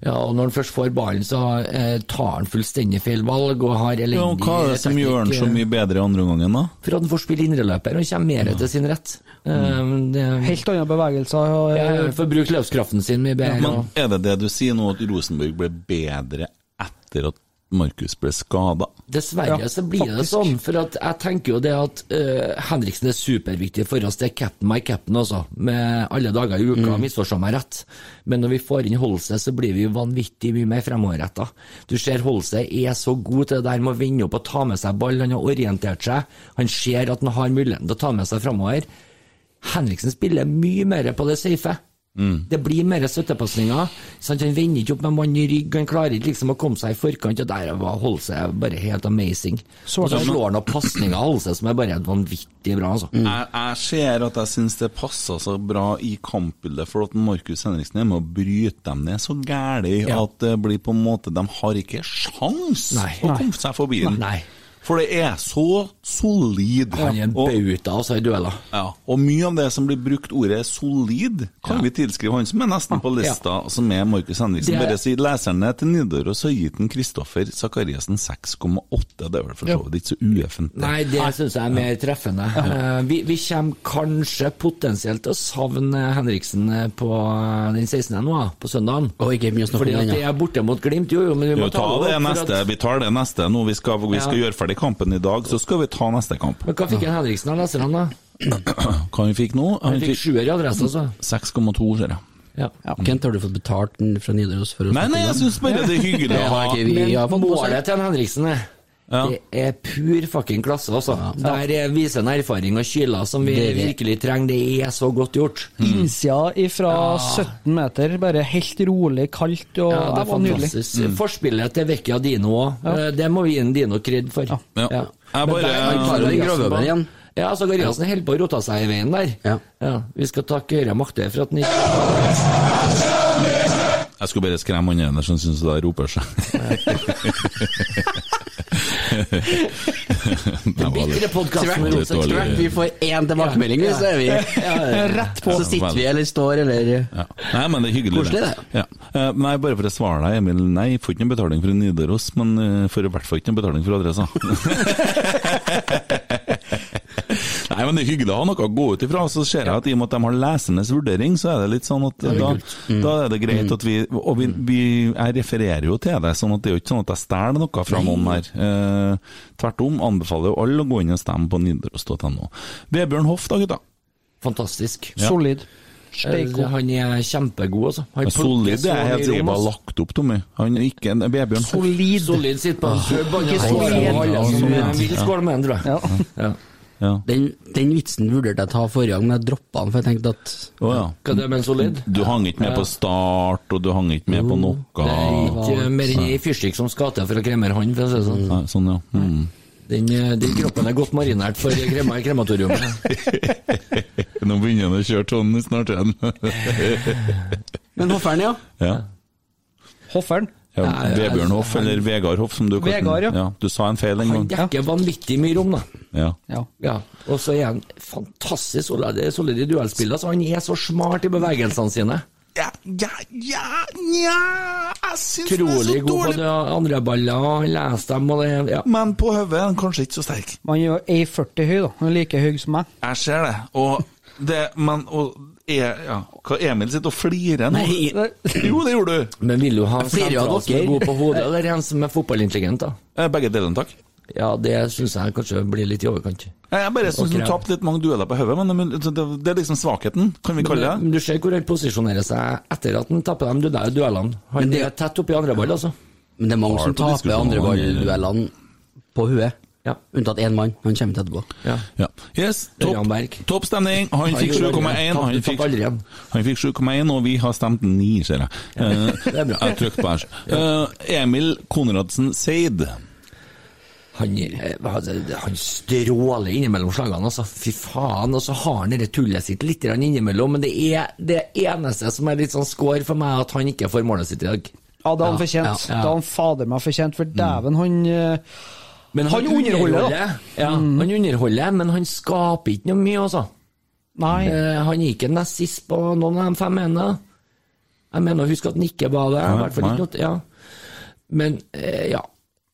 Speaker 6: Ja, og når han først får ballen, så eh, tar han fullstendig feil valg og har elendig
Speaker 3: Ja, og hva er det som gjør den så
Speaker 6: eh,
Speaker 3: mye bedre i andre omgangen, da?
Speaker 6: For at han får spille indreløper og kommer mer til sin rett.
Speaker 3: Mm.
Speaker 6: Eh, det-
Speaker 4: Helt andre bevegelser. og- eh,
Speaker 6: Ja, Får bruke løpskraften sin mye bedre. og-
Speaker 3: Men er det det du sier nå, at Rosenborg ble bedre etter at Markus ble skada?
Speaker 6: Dessverre
Speaker 3: Ja,
Speaker 6: så blir det
Speaker 3: faktisk.
Speaker 6: sånn, for at jeg tenker jo det at eh, Henriksen er superviktig for oss. Det er cap'n my cap'n, altså. Med alle dager i uka,
Speaker 5: Mm.
Speaker 6: misforstå meg rett. Men når vi får inn Holse, så blir vi vanvittig mye mer fremoverretta. Du ser Holse er så god til det der med å vende opp og ta med seg ball. Han har orientert seg. Han ser at han har muligheten til å ta med seg fremover. Henriksen spiller mye mer på det safe. Det blir mer støttepasninger. sant? Han vender ikke opp med mannen i rygg, han klarer ikke liksom å komme seg i forkant. Og der var Holse bare helt amazing.
Speaker 3: Så-
Speaker 6: og så slår han opp pasninger av Holse som er bare vanvittig bra, altså.
Speaker 3: Jeg, jeg ser at jeg syns det passer så bra i kampbildet, for at Markus Henriksen er med å bryte dem ned så gæli
Speaker 6: Ja.
Speaker 3: at det blir på en måte De har ikke sjans
Speaker 6: Nei.
Speaker 3: å komme seg forbi den.
Speaker 6: Nei.
Speaker 3: For det er så solid.
Speaker 6: Han er en
Speaker 3: Og-
Speaker 6: bauta altså, i dueller.
Speaker 3: Ja, og mye av det som blir brukt ordet solid, kan vi tilskrive han som er nesten på lista, som er Markus Henriksen.
Speaker 6: Ah, Det er-
Speaker 3: Bare si leserne til Nidaros har gitt den Kristoffer Sakariassen 6,8. Det er vel for så vidt ikke så ueffent. det.
Speaker 6: Nei, det syns jeg er mer treffende. Eh, Vi, vi kommer kanskje potensielt til å savne Henriksen eh, på eh, den 16. nå, ja, på søndagen.
Speaker 5: Og ikke mye å snakke
Speaker 6: Fordi
Speaker 5: om den,
Speaker 6: at det
Speaker 5: ja.
Speaker 6: er borte mot Glimt, jo, jo, men vi
Speaker 3: Vi,
Speaker 6: må
Speaker 3: ta
Speaker 6: det
Speaker 3: det
Speaker 6: opp, for at-
Speaker 3: neste, vi tar det neste nå. Vi skal, vi skal
Speaker 6: Ja.
Speaker 3: gjøre ferdig kampen i dag, så skal vi ta neste kamp.
Speaker 6: Men hva fikk en Henriksen av leserne, da?
Speaker 3: Hva han fikk nå?
Speaker 6: Han fikk sjuer i adresse, altså.
Speaker 3: 6,2, ser jeg.
Speaker 6: Ja.
Speaker 5: Kent, har du fått betalt den fra Nidaros for å
Speaker 3: Nei, nei, jeg syns bare det er hyggelig å ha
Speaker 6: Men
Speaker 5: målet
Speaker 6: målet til en Henriksen er Det er pur fucking klasse, altså. Der eh, viser en erfaring og kyler som vi
Speaker 4: Det er det.
Speaker 6: virkelig trenger. Det er så godt gjort.
Speaker 4: Innsida ifra 17 meter, bare helt rolig, kaldt, og
Speaker 6: Ja, det er
Speaker 4: var nydelig.
Speaker 6: fantastisk. Forspillet til Vecchia Dino òg, det må vi gi en Dino kred for.
Speaker 3: Ja. Jeg
Speaker 6: Men
Speaker 3: bare-
Speaker 6: der er
Speaker 3: Han tar
Speaker 6: Gariassen
Speaker 5: den gravøveren
Speaker 6: bak.
Speaker 5: igjen.
Speaker 6: Ja, så Gariassen holder på å rote seg i veien der.
Speaker 5: Ja.
Speaker 6: Vi skal takke høyre makter for at den ikke
Speaker 3: Jeg skulle bare skremme han ene som syns det roper seg. det var litt-
Speaker 6: Bitre podkasten med
Speaker 3: Tvert-
Speaker 6: Rotsekk.
Speaker 3: dårlig.
Speaker 5: Tvert, vi får én tilbakemelding,
Speaker 6: Ja.
Speaker 5: så er vi
Speaker 6: Ja.
Speaker 5: rett på. Så sitter vi eller står eller
Speaker 3: Ja. Nei, men det er hyggelig.
Speaker 5: Koselig,
Speaker 3: Ja. Eh, Nei, bare for å svare deg, Emil. Nei, jeg får ikke noe betaling for Nidaros, men eh, får i hvert fall ikke noe betaling for adressa. Nei, Nei, men det er hyggelig å ha noe å gå ut ifra. Så ser jeg at i og med at de har lesernes vurdering, så er det litt sånn at
Speaker 6: Ja, det er
Speaker 3: da,
Speaker 6: kult. Mm.
Speaker 3: da er det greit
Speaker 6: Mm.
Speaker 3: at vi Og vi, vi, jeg refererer jo til det, sånn at det er jo ikke sånn at jeg stjeler noe fra
Speaker 6: Nei.
Speaker 3: noen her. Eh, Tvert om anbefaler jo alle å gå inn og stemme på nidaros.no. Vebjørn Hoff da, gutta?
Speaker 6: Fantastisk.
Speaker 3: Solid.
Speaker 6: Eh, Han er kjempegod, altså. Han
Speaker 3: Ja, Solid
Speaker 6: plukker
Speaker 3: det
Speaker 6: så
Speaker 3: er jeg helt
Speaker 6: mye
Speaker 3: sikker
Speaker 6: rom,
Speaker 3: på.
Speaker 6: altså.
Speaker 3: Lagt opp, Tommy. Han er ikke en Vebjørn Hoff.
Speaker 6: Solid. Solid sitter
Speaker 5: Ah,
Speaker 6: på en pub, han
Speaker 3: Ikke
Speaker 6: er skåler på alle som
Speaker 3: solid.
Speaker 6: vil skåle med han, tror jeg. Ja.
Speaker 5: Den, den vitsen vurderte jeg å ta forrige gang, men jeg droppa den, for jeg tenkte at
Speaker 3: Å ja.
Speaker 6: Hva det med en solid?
Speaker 3: Du hang ikke med
Speaker 6: Ja.
Speaker 3: på start, og du hang ikke med på noe.
Speaker 6: Det er ikke mer enn ei fyrstikk som skal til for å kremere han, for å si det sånn.
Speaker 3: Nei, sånn, ja. Mm.
Speaker 6: Den, eh, den kroppen er godt marinert for krema i krematorium.
Speaker 3: Nå begynner han å kjøre sånn snart igjen.
Speaker 5: Men Hofferen, ja.
Speaker 3: ja.
Speaker 4: Hofferen?
Speaker 3: ja.
Speaker 6: Nei,
Speaker 3: Vebjørn Hoff, eller Vegard Hoff, som du kaller
Speaker 6: Vegard, ja.
Speaker 3: den. Du sa en feil en
Speaker 6: Han
Speaker 3: gang.
Speaker 6: dekker vanvittig mye rom, da.
Speaker 3: Ja.
Speaker 6: Ja, og så er han fantastisk solid, det er solid i duellspill. Altså, han er så smart i bevegelsene sine.
Speaker 3: Ja, ja, ja, nja Jeg syns
Speaker 6: Utrolig god på det andre baller, og han leser dem og det ja.
Speaker 3: Men på hodet er han kanskje ikke så sterk.
Speaker 4: Man er jo 1,40 høy, da. Han er like høy som meg.
Speaker 3: Jeg ser det. Og det Men og, er, ja. Hva Emil sitter og flirer nå?
Speaker 5: Nei.
Speaker 3: Jo, det gjorde du.
Speaker 6: Men vil du ha en
Speaker 3: Jeg flirer
Speaker 6: sentral
Speaker 3: av
Speaker 6: som er
Speaker 3: dere.
Speaker 6: god på hodet, eller en som er fotballintelligent, da?
Speaker 3: Eh, Begge delene, takk.
Speaker 6: Ja, det syns jeg kanskje blir litt i overkant.
Speaker 3: Nei, Jeg bare syns
Speaker 6: Ok.
Speaker 3: hun tapte litt mange dueller på hodet, men men det, det, det er liksom svakheten, kan vi kalle det.
Speaker 6: Men du ser hvor han posisjonerer seg etter at han tapper de duell- duellene. Han er tett oppi andre ball, altså.
Speaker 5: Men det er mange
Speaker 6: Har
Speaker 5: som
Speaker 6: på
Speaker 5: taper
Speaker 6: diskusjonen,
Speaker 5: andre
Speaker 6: eller?
Speaker 5: ballduellene på huet. Unntatt én mann. Han kommer til etterpå.
Speaker 3: Ja. Yes, topp topp stemning. Han
Speaker 5: Han
Speaker 3: fikk
Speaker 5: gjorde
Speaker 3: 7,1.
Speaker 5: det.
Speaker 3: Han
Speaker 5: Tapte-
Speaker 3: fikk
Speaker 5: tapte aldri igjen.
Speaker 3: han fikk 7,1, og vi har stemt 9, ser jeg. Eh,
Speaker 6: det er bra.
Speaker 3: Jeg trykte på her. Eh, Emil Konradsen Seid.
Speaker 6: Han, eh, hva- han stråler innimellom slagene, altså. Fy faen. Og så har han det tullet sitt litt grann innimellom, men det er det eneste som er litt sånn score for meg, at han ikke får målet sitt i dag.
Speaker 4: Ja, det har han
Speaker 6: Ja,
Speaker 4: fortjent.
Speaker 6: ja, ja.
Speaker 4: Det har han fader meg fortjent, for dæven, han eh, han, underholder, da.
Speaker 6: Ja, han underholder, men han skaper ikke noe mye, altså.
Speaker 4: Nei.
Speaker 6: Eh, han gikk en nest sist på noen av de fem ene. Jeg mener å huske at han ikke var det. i
Speaker 3: Nei,
Speaker 6: hvert fall
Speaker 3: nei.
Speaker 6: ikke noe, ja. Men, eh, ja.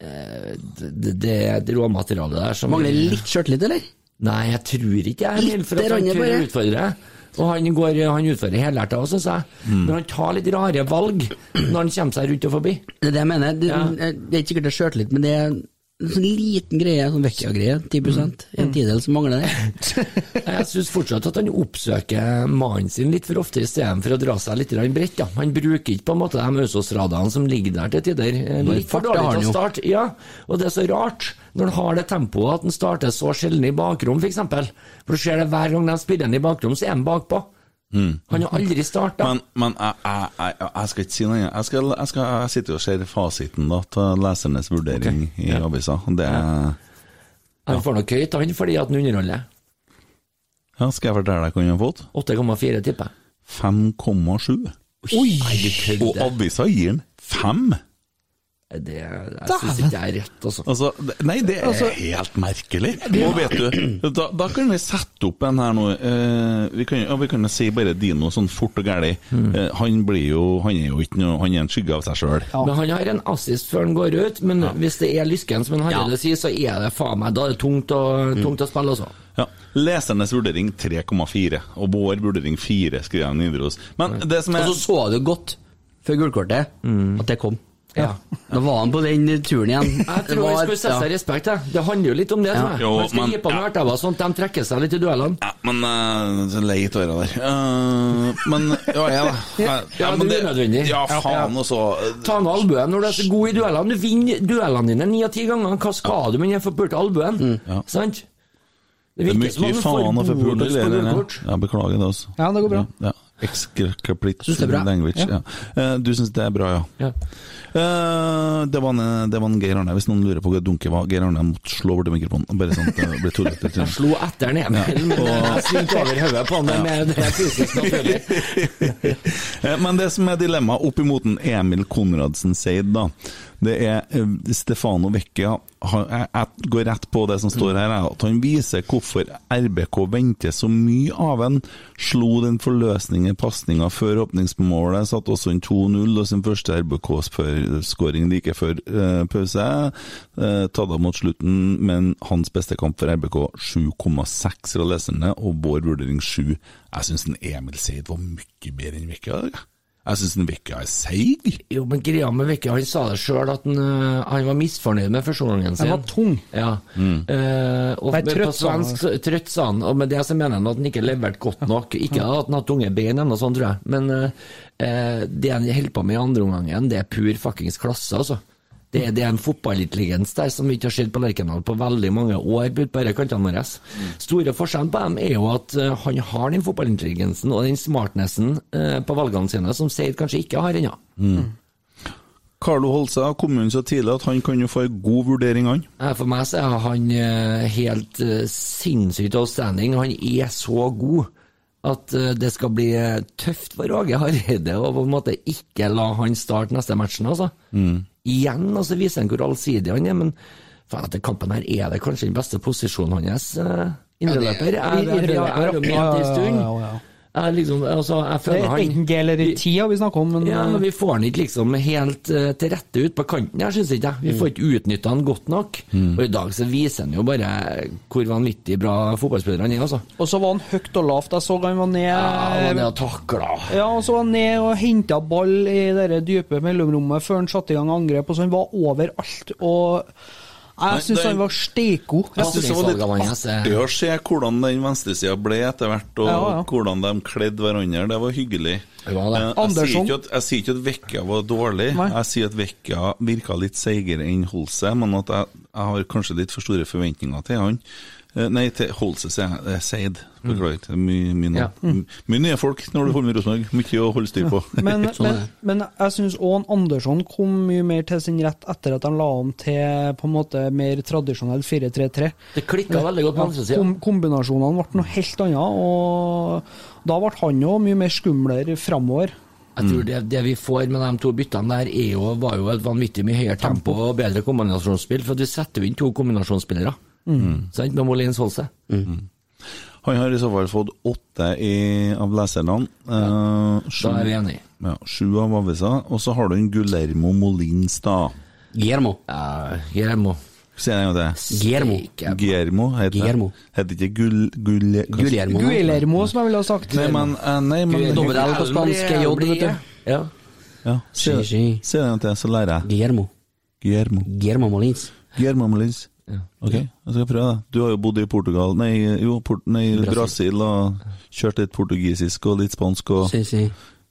Speaker 6: Eh, det, det er et råmateriale der som
Speaker 5: Mangler litt sjøltillit, eller?
Speaker 6: Nei, jeg tror ikke jeg, Emil, for
Speaker 5: Litt
Speaker 6: at han
Speaker 5: rann
Speaker 6: tør å
Speaker 5: bare.
Speaker 6: utfordre. Og han, går, han utfordrer helhjertet også, syns jeg.
Speaker 5: Mm.
Speaker 6: Men han tar litt rare valg når han kommer seg rundt og forbi.
Speaker 5: Det er det jeg mener. Det, det er ikke sikkert det er sjøltillit, men det er en sånn liten greie, sånn Vecchia-greie. 10 En tidel som mangler det.
Speaker 6: Jeg syns fortsatt at han oppsøker mannen sin litt for ofte istedenfor å dra seg litt grann bredt. da. Han bruker ikke på en måte de Mausos-radene som ligger der til tider. Eh,
Speaker 5: Men
Speaker 6: Litt for
Speaker 5: fart, det har
Speaker 6: dårlig
Speaker 5: han
Speaker 6: til
Speaker 5: jo.
Speaker 6: å starte. Ja, og det er så rart når han har det tempoet at han starter så sjelden i bakrom, f.eks. For eksempel. For du ser det hver gang de spiller han i bakrom, så er han bakpå.
Speaker 5: Mm.
Speaker 6: Han har aldri starta.
Speaker 3: Men, men jeg, jeg, jeg, jeg skal ikke si noe. Jeg, skal, jeg, skal, jeg sitter jo og ser fasiten da, til lesernes vurdering i avisa. Det er
Speaker 6: Han får nok høyt, han, fordi at han underholder.
Speaker 3: ja, Skal jeg fortelle deg hva han har fått?
Speaker 6: 8,4, tipper jeg.
Speaker 3: 5,7.
Speaker 6: Nei, du kødder.
Speaker 3: Og avisa gir den 5!
Speaker 6: Det, jeg syns ikke det er rett, altså.
Speaker 3: Altså, det- nei, det er
Speaker 6: Altså-
Speaker 3: helt merkelig.
Speaker 6: Ja.
Speaker 3: Og vet du, da, da kan vi sette opp en her nå. eh, vi, kan, ja, vi kan jo si bare Dino sånn fort og gæli.
Speaker 6: Mm.
Speaker 3: Eh, han blir jo Han er jo ikke noe Han er en skygge av seg sjøl.
Speaker 6: Men han har en assist før han går ut, men hvis det er lysken som en Hareide sier, så er det faen meg Da er det tungt å,
Speaker 5: Mm.
Speaker 6: tungt å spille, altså.
Speaker 3: Ja. Lesernes vurdering 3,4, og vår vurdering 4, skriver han Nidaros. Men det som er
Speaker 5: Og så så jeg det godt før gullkortet, at det kom.
Speaker 6: Mm. Ja.
Speaker 5: Da var han på den turen igjen.
Speaker 6: Jeg tror vi skulle sette seg i respekt, jeg. Det handler jo litt om det,
Speaker 5: Ja.
Speaker 6: tror jeg.
Speaker 3: Jo,
Speaker 6: Man skal
Speaker 3: men-
Speaker 6: gi på noen ertever, sånn at de trekker seg litt i duellene.
Speaker 3: Ja, men eh, så lei av det der. Eh, men Ja, ja, da. ja,
Speaker 6: Ja,
Speaker 3: men
Speaker 6: det er unødvendig.
Speaker 3: Ja,
Speaker 6: Ja.
Speaker 3: faen, og så
Speaker 6: Ta med albuen når du er så god i duellene. Du vinner duellene dine ni av ti ganger. Hva skal du med den forpulte albuen? Sant?
Speaker 3: Det er
Speaker 6: viktigste var
Speaker 3: mye
Speaker 6: at får
Speaker 3: faen å få pult
Speaker 6: bonus på gullkort.
Speaker 3: Ja, beklager det, altså.
Speaker 4: Ja, det går bra.
Speaker 3: Ja. Excreplit
Speaker 4: Synes det er bra.
Speaker 3: language.
Speaker 4: Ja.
Speaker 3: Ja. Eh, Du syns det er bra, ja.
Speaker 6: Ja.
Speaker 3: Eh, det, var en, det var en Geir Arne. Hvis noen lurer på hva dunket var Geir Arne måtte slå over til mikrofonen. Bare sånn at det ble tullete.
Speaker 6: Jeg slo etter den Emil,
Speaker 3: Ja,
Speaker 6: men
Speaker 3: og-
Speaker 6: jeg svingte over hodet på han med-
Speaker 3: Ja.
Speaker 6: med det er fysisk naturlig.
Speaker 3: Eh, Men det som er dilemmaet opp imot en Emil Konradsen Seid, da, Det er eh, Stefano Vecchia. Han, jeg, jeg går rett på det som står her, jeg, at han viser hvorfor RBK venter så mye av en. Slo den forløsningen pasninga før åpningsmålet, satt også en 2-0 og sin første RBK-skåring like før eh, pause. Uh, Tadda mot slutten, men hans beste kamp for RBK 7,6 fra leserne, og vår vurdering 7. Jeg syns Emil Seid var mye bedre enn Vecchia. jeg. Jeg syns Vecchia er seig.
Speaker 6: Jo, men greia med Vekke, han sa det sjøl at han, øh, han var misfornøyd med førsteomgangen sin.
Speaker 4: Den var tung.
Speaker 6: Ja. Eh, og
Speaker 4: Nei,
Speaker 6: men
Speaker 4: trøtt
Speaker 6: på
Speaker 4: sa han.
Speaker 6: svensk så- trøtt sa han, og med det så mener han at han ikke leverte godt nok. Ikke at han har hatt tunge bein ennå, sånn tror jeg, men eh, eh, det han holder på med i andre omgangen, det er pur fuckings klasse, altså. Det, er- det er en fotballintelligens der som vi ikke har sett på Lerkendal på veldig mange år. ut på disse kantene våre. Store forskjellen på dem er jo at eh, han har den fotballintelligensen og den smartnessen eh, på valgene sine som Seid kanskje ikke har ennå.
Speaker 3: Carlo Holse har kommet inn så tidlig at han kan jo få en god vurdering, han.
Speaker 6: Eh, For meg så er han eh, helt eh, sinnssykt outstanding. Han er så god at eh, det skal bli eh, tøft for Åge Hareide å på en måte ikke la han starte neste matchen, altså. Igjen altså, viser han hvor allsidig han er, men faen, etter kampen her er det kanskje den beste posisjonen hans. eh, Indreløper.
Speaker 4: Ja, det-
Speaker 6: Jeg jeg- jeg- jeg har jo ment det en stund.
Speaker 4: Ja, ja, ja.
Speaker 6: Jeg liksom, altså, jeg
Speaker 4: Det
Speaker 6: føler
Speaker 4: er enten
Speaker 6: han
Speaker 4: G eller
Speaker 6: Vi-
Speaker 4: T vi snakker om, men
Speaker 6: ja, men vi får han ikke liksom helt eh, til rette ut på kanten her, syns ikke jeg. Vi får ikke utnytta han godt nok. Og i dag så viser han jo bare hvor vanvittig bra fotballspiller han er, altså.
Speaker 4: Og så var han høyt og lavt. Jeg så han var ned
Speaker 6: Han er og takla.
Speaker 4: Ja, og så var han ned og henta ball i det der dype mellomrommet før han satte i gang angrep, og så han var overalt. Og
Speaker 3: Nei,
Speaker 4: jeg syns
Speaker 3: det-
Speaker 4: han var steikod.
Speaker 3: Jeg synes det var litt artig å se hvordan den venstresida ble etter hvert, og
Speaker 4: Ja, ja.
Speaker 3: hvordan de kledde hverandre. Det var hyggelig. Eh, Jeg, sier
Speaker 4: Andersson.
Speaker 3: ikke at, jeg sier ikke at Vekka var dårlig,
Speaker 4: Nei.
Speaker 3: jeg sier at Vekka virka litt seigere enn Holse, men at jeg, jeg har kanskje litt for store forventninger til han. Eh, Nei, til Holse, sier jeg. Eh, Seid. Beklager. det er Mye mye
Speaker 4: Ja.
Speaker 3: navn. M- Mye nye folk når du holder med Rosenborg. Mye å holde styr på.
Speaker 4: Men, men, men jeg syns òg Andersson kom mye mer til sin rett etter at han la om til på en måte mer tradisjonell 4-3-3.
Speaker 6: Det klikket veldig godt på
Speaker 4: Ja,
Speaker 6: venstresiden.
Speaker 4: Kom, kombinasjonene ble noe helt annet, og da ble han òg mye mer skumlere framover.
Speaker 6: Jeg tror det, det vi får med de to byttene der, er jo, var jo et vanvittig mye høyere tempo og bedre kombinasjonsspill, for at vi setter jo inn to kombinasjonsspillere.
Speaker 3: Mm.
Speaker 6: Sant, med Molins Holse.
Speaker 3: Han har i så fall fått åtte i, av leserne. Eh, sju-
Speaker 6: Da er vi enige.
Speaker 3: Ja, sju av avisa. Og så har du en Gulermo Molins, da.
Speaker 5: Giermo.
Speaker 6: Uh, Giermo.
Speaker 3: Si det en gang til.
Speaker 5: Giermo.
Speaker 3: Giermo heter
Speaker 5: Giermo.
Speaker 3: det. Heter ikke Gul... Gul
Speaker 5: Guillermo.
Speaker 4: Guillermo, som jeg ville ha sagt.
Speaker 3: Nei, men, eh, nei, men
Speaker 5: Dobbel L på spansk er J, vet du.
Speaker 6: Ja.
Speaker 3: Ja, Si det si det en gang til, så lærer jeg.
Speaker 5: Guillermo.
Speaker 3: Guillermo.
Speaker 5: Guillermo Molins.
Speaker 3: Guillermo Molins. Ok, jeg skal prøve det. Du har jo bodd i Portugal Nei, jo, port, nei
Speaker 5: Brasil.
Speaker 3: Brasil. og kjørt litt portugisisk og litt spansk og
Speaker 5: Si, si.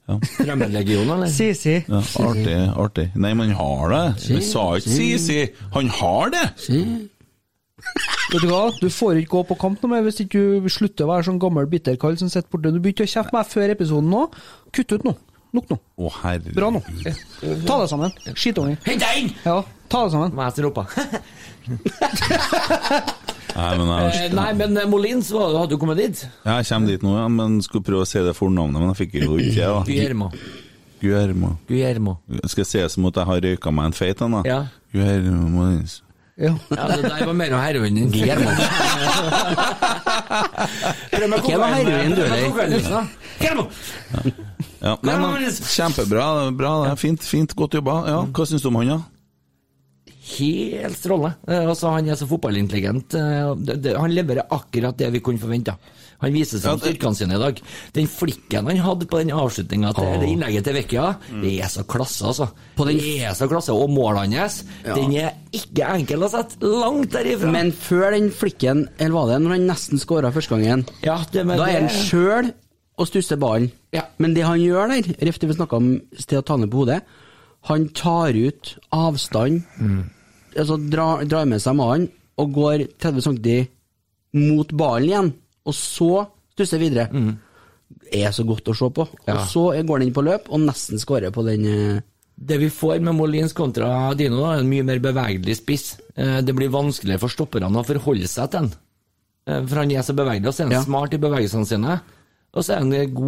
Speaker 3: Ja.
Speaker 6: Fremmedlegion, eller?
Speaker 4: Si, si.
Speaker 3: Ja, artig, artig. Nei, men han har det.
Speaker 5: Si,
Speaker 3: Jeg sa ikke si,
Speaker 5: si.
Speaker 3: si. Han har det!
Speaker 5: Si.
Speaker 4: Vet du hva, du får ikke gå på kamp noe mer hvis ikke du slutter å være sånn gammel bitterkall som sitter borte. Du begynte å kjefte på meg før episoden nå. Kutt ut nå. Nok nå.
Speaker 3: Å, herregud.
Speaker 4: Bra nå. Ta deg sammen. Skittunge.
Speaker 6: Hent deg inn!
Speaker 4: Ja, ta deg sammen.
Speaker 6: Hva er det som roper?
Speaker 3: Nei, men jeg,
Speaker 6: Eh, Nei, men eh, Molins var- hadde jo kommet dit.
Speaker 3: jeg kommer dit nå, ja, men skulle prøve å si det fornavnet, men jeg fikk det jo ikke det.
Speaker 6: Guillermo.
Speaker 3: da. Guillermo.
Speaker 6: Guillermo.
Speaker 3: Skal jeg se som at jeg har røyka meg en feit en, da?
Speaker 6: Ja.
Speaker 3: Guillermo Molins.
Speaker 4: Ja.
Speaker 6: Ja, det der var mer av heroin enn
Speaker 5: Guillermo.
Speaker 6: Ikke
Speaker 5: noe heroin, du, eller?
Speaker 6: liksom. Guillermo!
Speaker 3: Ja, nei,
Speaker 6: Guillermo
Speaker 3: men,
Speaker 6: Molins.
Speaker 3: kjempebra, det er bra, det er fint, fint, godt jobba. Ja, hva syns du om han, da?
Speaker 6: Helt strålende. Eh, Altså, han er så fotballintelligent. eh, det- det- Han leverer akkurat det vi kunne forvente. Han viser seg styrkene sine i dag. Den flikken han hadde på den avslutninga til det innlegget til Vecchia, det er så klasse, altså. det er så klasse. Og målet hans, den er ikke enkel å sette. Langt derifra.
Speaker 5: Men før den flikken, eller var det når han nesten skåra første gangen,
Speaker 6: ja, det, men
Speaker 5: da er han
Speaker 6: det-
Speaker 5: sjøl og stusser ballen.
Speaker 6: Ja.
Speaker 5: Men det han gjør der, ref det vi snakka om sted å ta ned på hodet, han tar ut avstand, altså drar, drar med seg mannen og går 30 cm mot ballen igjen, og så stusser videre. Er så godt å se på. Og så går han inn på løp og nesten skårer på den eh,
Speaker 6: Det vi får med Molins kontra Dino, da, er en mye mer bevegelig spiss. Eh, Det blir vanskeligere for stopperne å forholde seg til den. Eh, For han er så bevegelig, og så er han
Speaker 5: Ja.
Speaker 6: smart i eh, bevegelsene sine. Og så er han god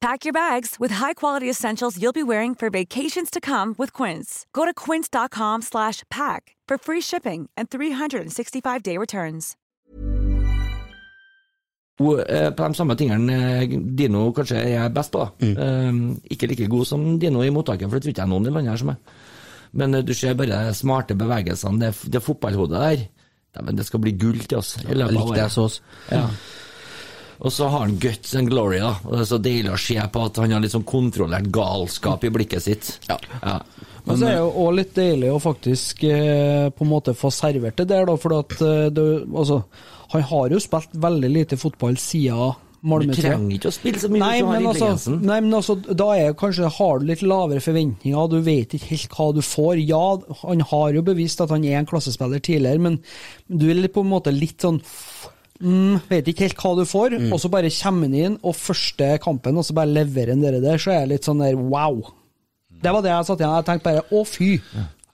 Speaker 7: Pack your bags with high-quality essentials you'll be wearing for vacations to come with Quince. Go to quince.com slash pack for free shipping and 365-day returns.
Speaker 6: Hun, eh, På de samme tingene eh, Dino kanskje er best på. da. Eh, Ikke like god som Dino i mottaket, for det tror ikke jeg noen i landet her som er. Men eh, du ser bare de smarte bevegelsene, det, det fotballhodet der. Dæven, det skal bli gull til oss. i
Speaker 5: Ja,
Speaker 6: løpet av
Speaker 5: likte jeg
Speaker 6: året.
Speaker 5: så oss.
Speaker 6: Ja. Og så har han guts and glory, da. Og det er så deilig å se på at han har litt sånn kontrollert galskap i blikket sitt. Ja.
Speaker 4: Men så er det jo også litt deilig å faktisk eh, på en måte få servert det der, da, for at eh, det, altså, han har jo spilt veldig lite fotball siden
Speaker 6: Du
Speaker 4: Malmö-tida.
Speaker 6: trenger ikke å spille så mye
Speaker 4: Nei,
Speaker 6: hvis du har
Speaker 4: men altså,
Speaker 6: intelligensen.
Speaker 4: nei, men altså, da er kanskje har du litt lavere forventninger, du vet ikke helt hva du får. Ja, han har jo bevist at han er en klassespiller tidligere, men du er litt på en måte litt sånn mm, Vet ikke helt hva du får,
Speaker 5: Mm.
Speaker 4: og så bare kommer han inn, og første kampen, og så bare leverer han det der, så er jeg litt sånn der wow. Det var det jeg satt igjen med. Jeg tenkte bare å, fy.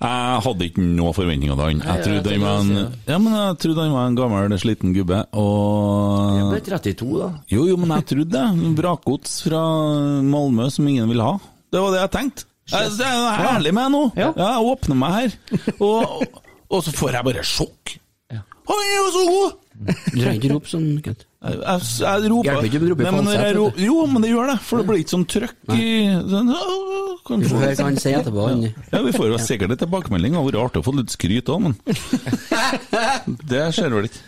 Speaker 3: Jeg hadde ikke noen forventninger til han.
Speaker 4: Nei,
Speaker 3: Jeg trodde
Speaker 4: jeg
Speaker 3: han var
Speaker 4: tenkte
Speaker 3: en, ja, men jeg trodde han var en gammel, sliten gubbe. Og...
Speaker 6: Jeg ble 32, da.
Speaker 3: Jo, jo, men jeg trodde det. Vrakgods fra Malmö som ingen vil ha. Det var det jeg tenkte. Jeg, jeg er ærlig med deg nå. Ja, jeg åpner meg her. Og, og så får jeg bare sjokk. Han er jo så god!
Speaker 5: Du trenger ikke rope sånn, Kent.
Speaker 3: Jeg, jeg, jeg roper
Speaker 5: Hjelper ikke om du roper
Speaker 3: Nei, men når
Speaker 5: falsett,
Speaker 3: jeg ro,
Speaker 5: vet
Speaker 3: Jo, men det gjør det, for det blir ikke sånn trøkk i sånn, «Åh, kan
Speaker 5: Vi får
Speaker 3: få-
Speaker 5: høre hva han sier etterpå, han.
Speaker 3: Ja, vi får jo sikkert en tilbakemelding. Det hadde vært artig å få litt skryt òg, men Det skjer vel ikke.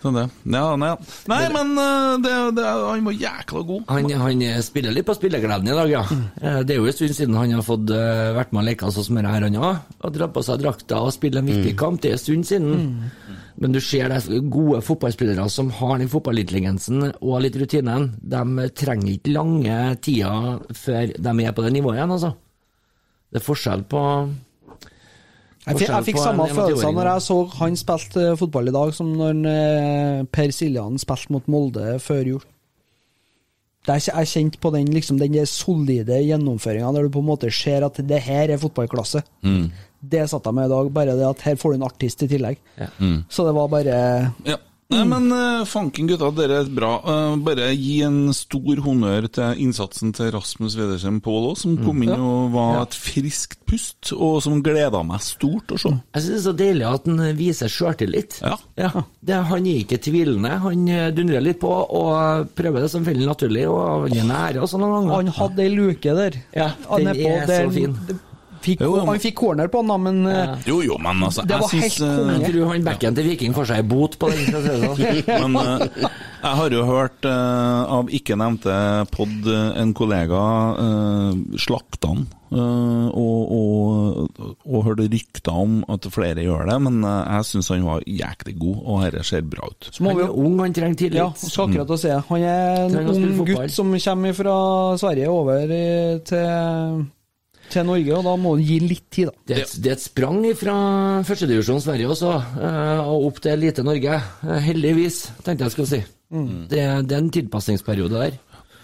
Speaker 3: Sånn det. Ja, nei, nei men eh, det, det, han var jækla god.
Speaker 6: Han, han spiller litt på spillegleden i dag, ja. Eh, Det er jo en stund siden han har fått eh, vært med og leke sånn som dette her han har. Og dra på seg drakta og spille en
Speaker 4: Mm.
Speaker 6: viktig kamp. Det er en stund siden. Men du ser de gode fotballspillere som har den fotballintelligensen og litt rutinen. De trenger ikke lange tider før de er på det nivået igjen, altså. Det er forskjell på
Speaker 4: Jeg, fikk- jeg
Speaker 6: forskjell
Speaker 4: fikk
Speaker 6: på
Speaker 4: samme
Speaker 6: en
Speaker 4: følelse
Speaker 6: 21-åring.
Speaker 4: når jeg så han spilte eh, fotball i dag, som når eh, Per Siljan spilte mot Molde før jul. Det er, ikke- jeg kjente på den, liksom, den der solide gjennomføringa, der du på en måte ser at det her er fotballklasse.
Speaker 3: Mm.
Speaker 4: Det satt jeg med i dag, bare det at her får du en artist i tillegg.
Speaker 3: Mm.
Speaker 4: Så det var bare
Speaker 3: Ja.
Speaker 4: Mm.
Speaker 3: Nei, men eh, fanken gutta, dere er bra. Eh, bare gi en stor honnør til innsatsen til Rasmus Wedersen Pål òg, som
Speaker 4: Mm.
Speaker 3: kom inn
Speaker 6: Ja.
Speaker 3: og var
Speaker 6: Ja.
Speaker 3: et friskt pust, og som gleda meg stort å se.
Speaker 6: Jeg synes det er så deilig at han viser sjøltillit. Ja. Det, han er ikke tvilende, han eh, dundrer litt på og prøver det som veldig naturlig. Og han er nære og sånn noen ganger.
Speaker 4: Han hadde ei luke der.
Speaker 6: Ja,
Speaker 4: Han
Speaker 6: den
Speaker 4: er på-
Speaker 6: er
Speaker 4: den-
Speaker 6: så fin.
Speaker 4: Fikk, han fikk corner på han, da, men eh,
Speaker 3: Jo, jo, men altså
Speaker 4: Det var helt konge.
Speaker 6: Jeg tror han backen til Viking får seg ei bot på den. for å si det sånn.
Speaker 3: Men eh, jeg har jo hørt eh, av ikke nevnte pod eh, en kollega uh, slakte han. eh, og, og, og hørte rykter om at flere gjør det, men eh, jeg syns han var jæklig god, og dette ser bra ut.
Speaker 4: må vi jo-
Speaker 6: ung, han trenger tillit.
Speaker 4: Ja, skal akkurat å si det. Han er en
Speaker 6: Trenger å spille
Speaker 4: ung
Speaker 6: fotball.
Speaker 4: gutt som kommer fra Sverige over eh, til, til Norge, og da må han gi litt tid, da.
Speaker 6: Det er, et, det er et sprang fra førstedivisjon Sverige også, eh, og opp til
Speaker 4: Mm.
Speaker 6: lite Norge. Eh, Heldigvis, tenkte jeg skulle si. Det, det er en tilpasningsperiode der.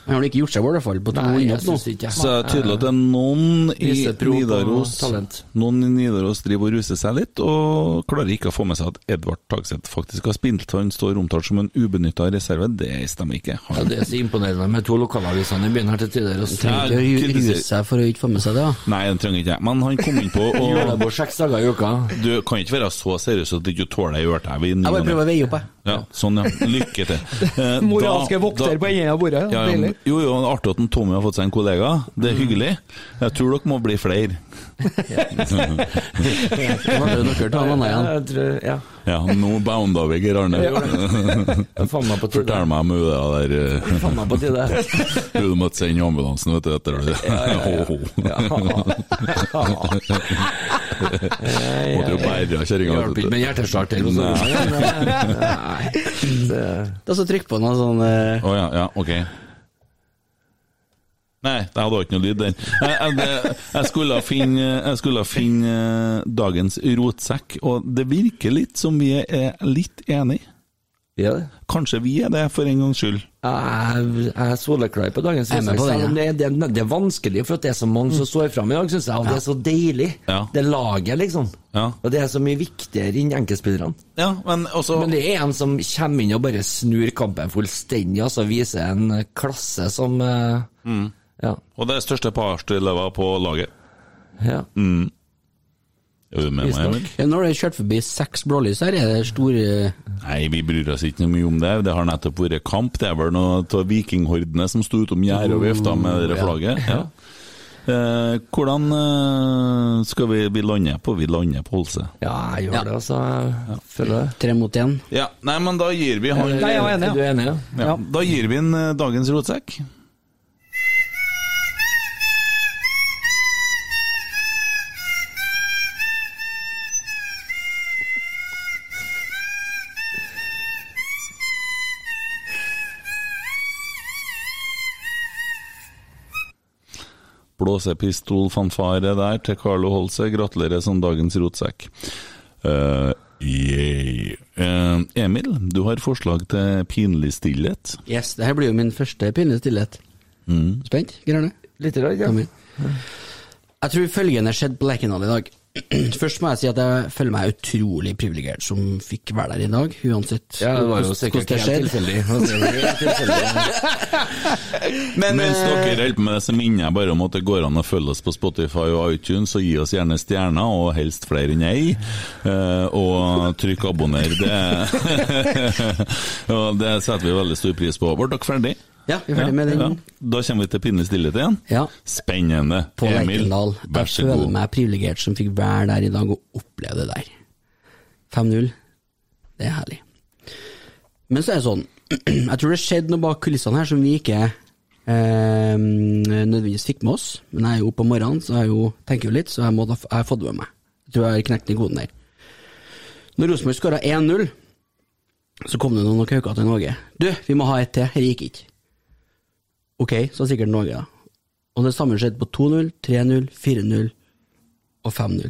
Speaker 5: Han har ikke gjort seg i hvert fall på to
Speaker 6: Nei, jeg
Speaker 5: innhopp nå.
Speaker 6: synes ikke.
Speaker 3: Så det er tydelig at det er noen i
Speaker 6: Viser prov på
Speaker 3: Nidaros
Speaker 6: talent.
Speaker 3: Noen i Nidaros driver og ruser seg litt, og klarer ikke å få med seg at Edvard Tagseth faktisk har spilt. Han står omtalt som en ubenytta reserve, det stemmer ikke. Han
Speaker 6: Ja, det er så imponerende med to lokalavisene i byen her til tider. og så-
Speaker 3: Trenger ikke å ru- ruse
Speaker 5: seg for å ikke få med seg det, da.
Speaker 3: Nei, den trenger ikke jeg. Men han kom inn på og...
Speaker 6: Julebord seks dager i uka.
Speaker 3: Du kan ikke være så seriøs at du ikke tåler ei ørteve i ny
Speaker 5: Jeg
Speaker 3: og
Speaker 5: bare
Speaker 3: ne.
Speaker 5: prøver å veie opp, jeg.
Speaker 3: Ja, sånn, ja. Lykke til. Eh,
Speaker 4: Moralske
Speaker 3: da-
Speaker 4: vokter
Speaker 3: da-
Speaker 4: på enden av bordet.
Speaker 3: Ja, ja, men-
Speaker 4: Deilig.
Speaker 3: jo, jo, artig at en Tommy har fått seg en kollega. Det er hyggelig. Jeg tror dere må bli flere.
Speaker 6: Jeg tror- Ja.
Speaker 3: Ja, nå bounda vi Geir Arne.
Speaker 6: Ja. Faen meg på tide.
Speaker 3: Fortell meg om hun der eh,
Speaker 6: Faen meg på tide.
Speaker 3: Hun du måtte sende ambulansen, vet du, etter det. Ho, ho. Måtte jo bære kjerringa.
Speaker 6: Hjelper ikke med hjerteslag til. hos Nei.
Speaker 5: Da så trykk på noe sånn eh,
Speaker 3: Å ja, ja, ok. Nei, det hadde ikke noe lyd der. Jeg, jeg, det- jeg skulle finne, jeg skulle finne eh, dagens rotsekk, og det virker litt som vi er litt enige.
Speaker 6: Vi er det.
Speaker 3: Kanskje vi er det, for en gangs skyld.
Speaker 6: Jeg jeg er soleklar på dagens
Speaker 3: Jeg er
Speaker 6: utsagn,
Speaker 3: med på den, Mm.
Speaker 6: selv om det, er- det, er- det er vanskelig, for at det er så mange som står fram i dag, syns jeg. Og det er så deilig. Det laget, liksom. Og det er så mye viktigere enn enkeltspillerne.
Speaker 3: men,
Speaker 6: det er en som kommer inn og bare snur kampen fullstendig, altså viser en eh, klasse som eh,
Speaker 3: Mm.
Speaker 6: Ja.
Speaker 3: Og det er største parstelever på laget.
Speaker 6: Ja.
Speaker 3: Mm. Er du med meg, Emil?
Speaker 5: Ja, Nå har du kjørt forbi seks blålys her, er det store
Speaker 3: Nei, vi bryr oss ikke noe mye om det. Det har nettopp vært kamp. Det er vel noe av vikinghordene som sto utom gjerdet og vifta med
Speaker 6: Mm,
Speaker 3: det der
Speaker 5: Ja.
Speaker 3: flagget. Ja. Eh, hvordan eh, skal vi, vi lande på? Vi lander på Holse.
Speaker 6: Ja, jeg gjør det, altså. Jeg føler det.
Speaker 5: Tre mot én.
Speaker 3: Ja, nei, men da gir vi han
Speaker 6: Nei, jeg er enig, ja. Du er enig, ja. Ja.
Speaker 3: Da gir vi han eh, dagens rotsekk. Blåsepistolfanfare der til Carlo Holse. Gratulerer som dagens rotsekk. Eh, yeah. Eh, Emil, du har forslag til pinlig stillhet.
Speaker 5: Yes, det her blir jo min første pinlige stillhet.
Speaker 3: Mm.
Speaker 5: Spent, Grønne?
Speaker 6: Litt rart, ja.
Speaker 5: Kom igjen. Jeg tror følgende skjedde på Lerkendal i dag. Først må jeg si at jeg føler meg utrolig privilegert som fikk være der i dag, uansett
Speaker 6: Ja, det var jo
Speaker 5: hvordan-
Speaker 6: sikkert
Speaker 5: hvordan
Speaker 6: helt
Speaker 5: det skjedde.
Speaker 6: tilfeldig. Altså, det var helt tilfeldig.
Speaker 5: Men,
Speaker 3: Mens
Speaker 5: eh,
Speaker 3: dere holder på med det, så minner jeg bare om at det går an å følge oss på Spotify og iTunes, og gi oss gjerne stjerner, og helst flere enn ei. Eh, og trykk 'abonner'. Det, og det setter vi veldig stor pris på. Ble dere ferdig?
Speaker 5: Ja, vi er ferdig med den.
Speaker 3: Da kommer vi til pinlig stillhet igjen.
Speaker 5: Ja.
Speaker 3: Spennende.
Speaker 5: på
Speaker 3: Emil,
Speaker 5: Lerkendal.
Speaker 3: vær
Speaker 5: Jeg
Speaker 3: så
Speaker 5: føler
Speaker 3: god.
Speaker 5: meg privilegert som fikk være der i dag og oppleve det der. 5-0, det er herlig. Men så er det sånn, jeg tror det skjedde noe bak kulissene her som vi ikke eh, nødvendigvis fikk med oss. Men jeg er jo oppe om morgenen, så jeg er jo, tenker jo litt, så jeg, må, da- jeg har fått det med meg. Jeg tror jeg har knekt den i koden der. Når Rosenborg skåra 1-0, så kom det noen kauker til Norge. Du, vi må ha et til, dette gikk ikke. Ok, så sikkert Norge, da. Og det samme skjedde på 2-0, 3-0, 4-0 og 5-0.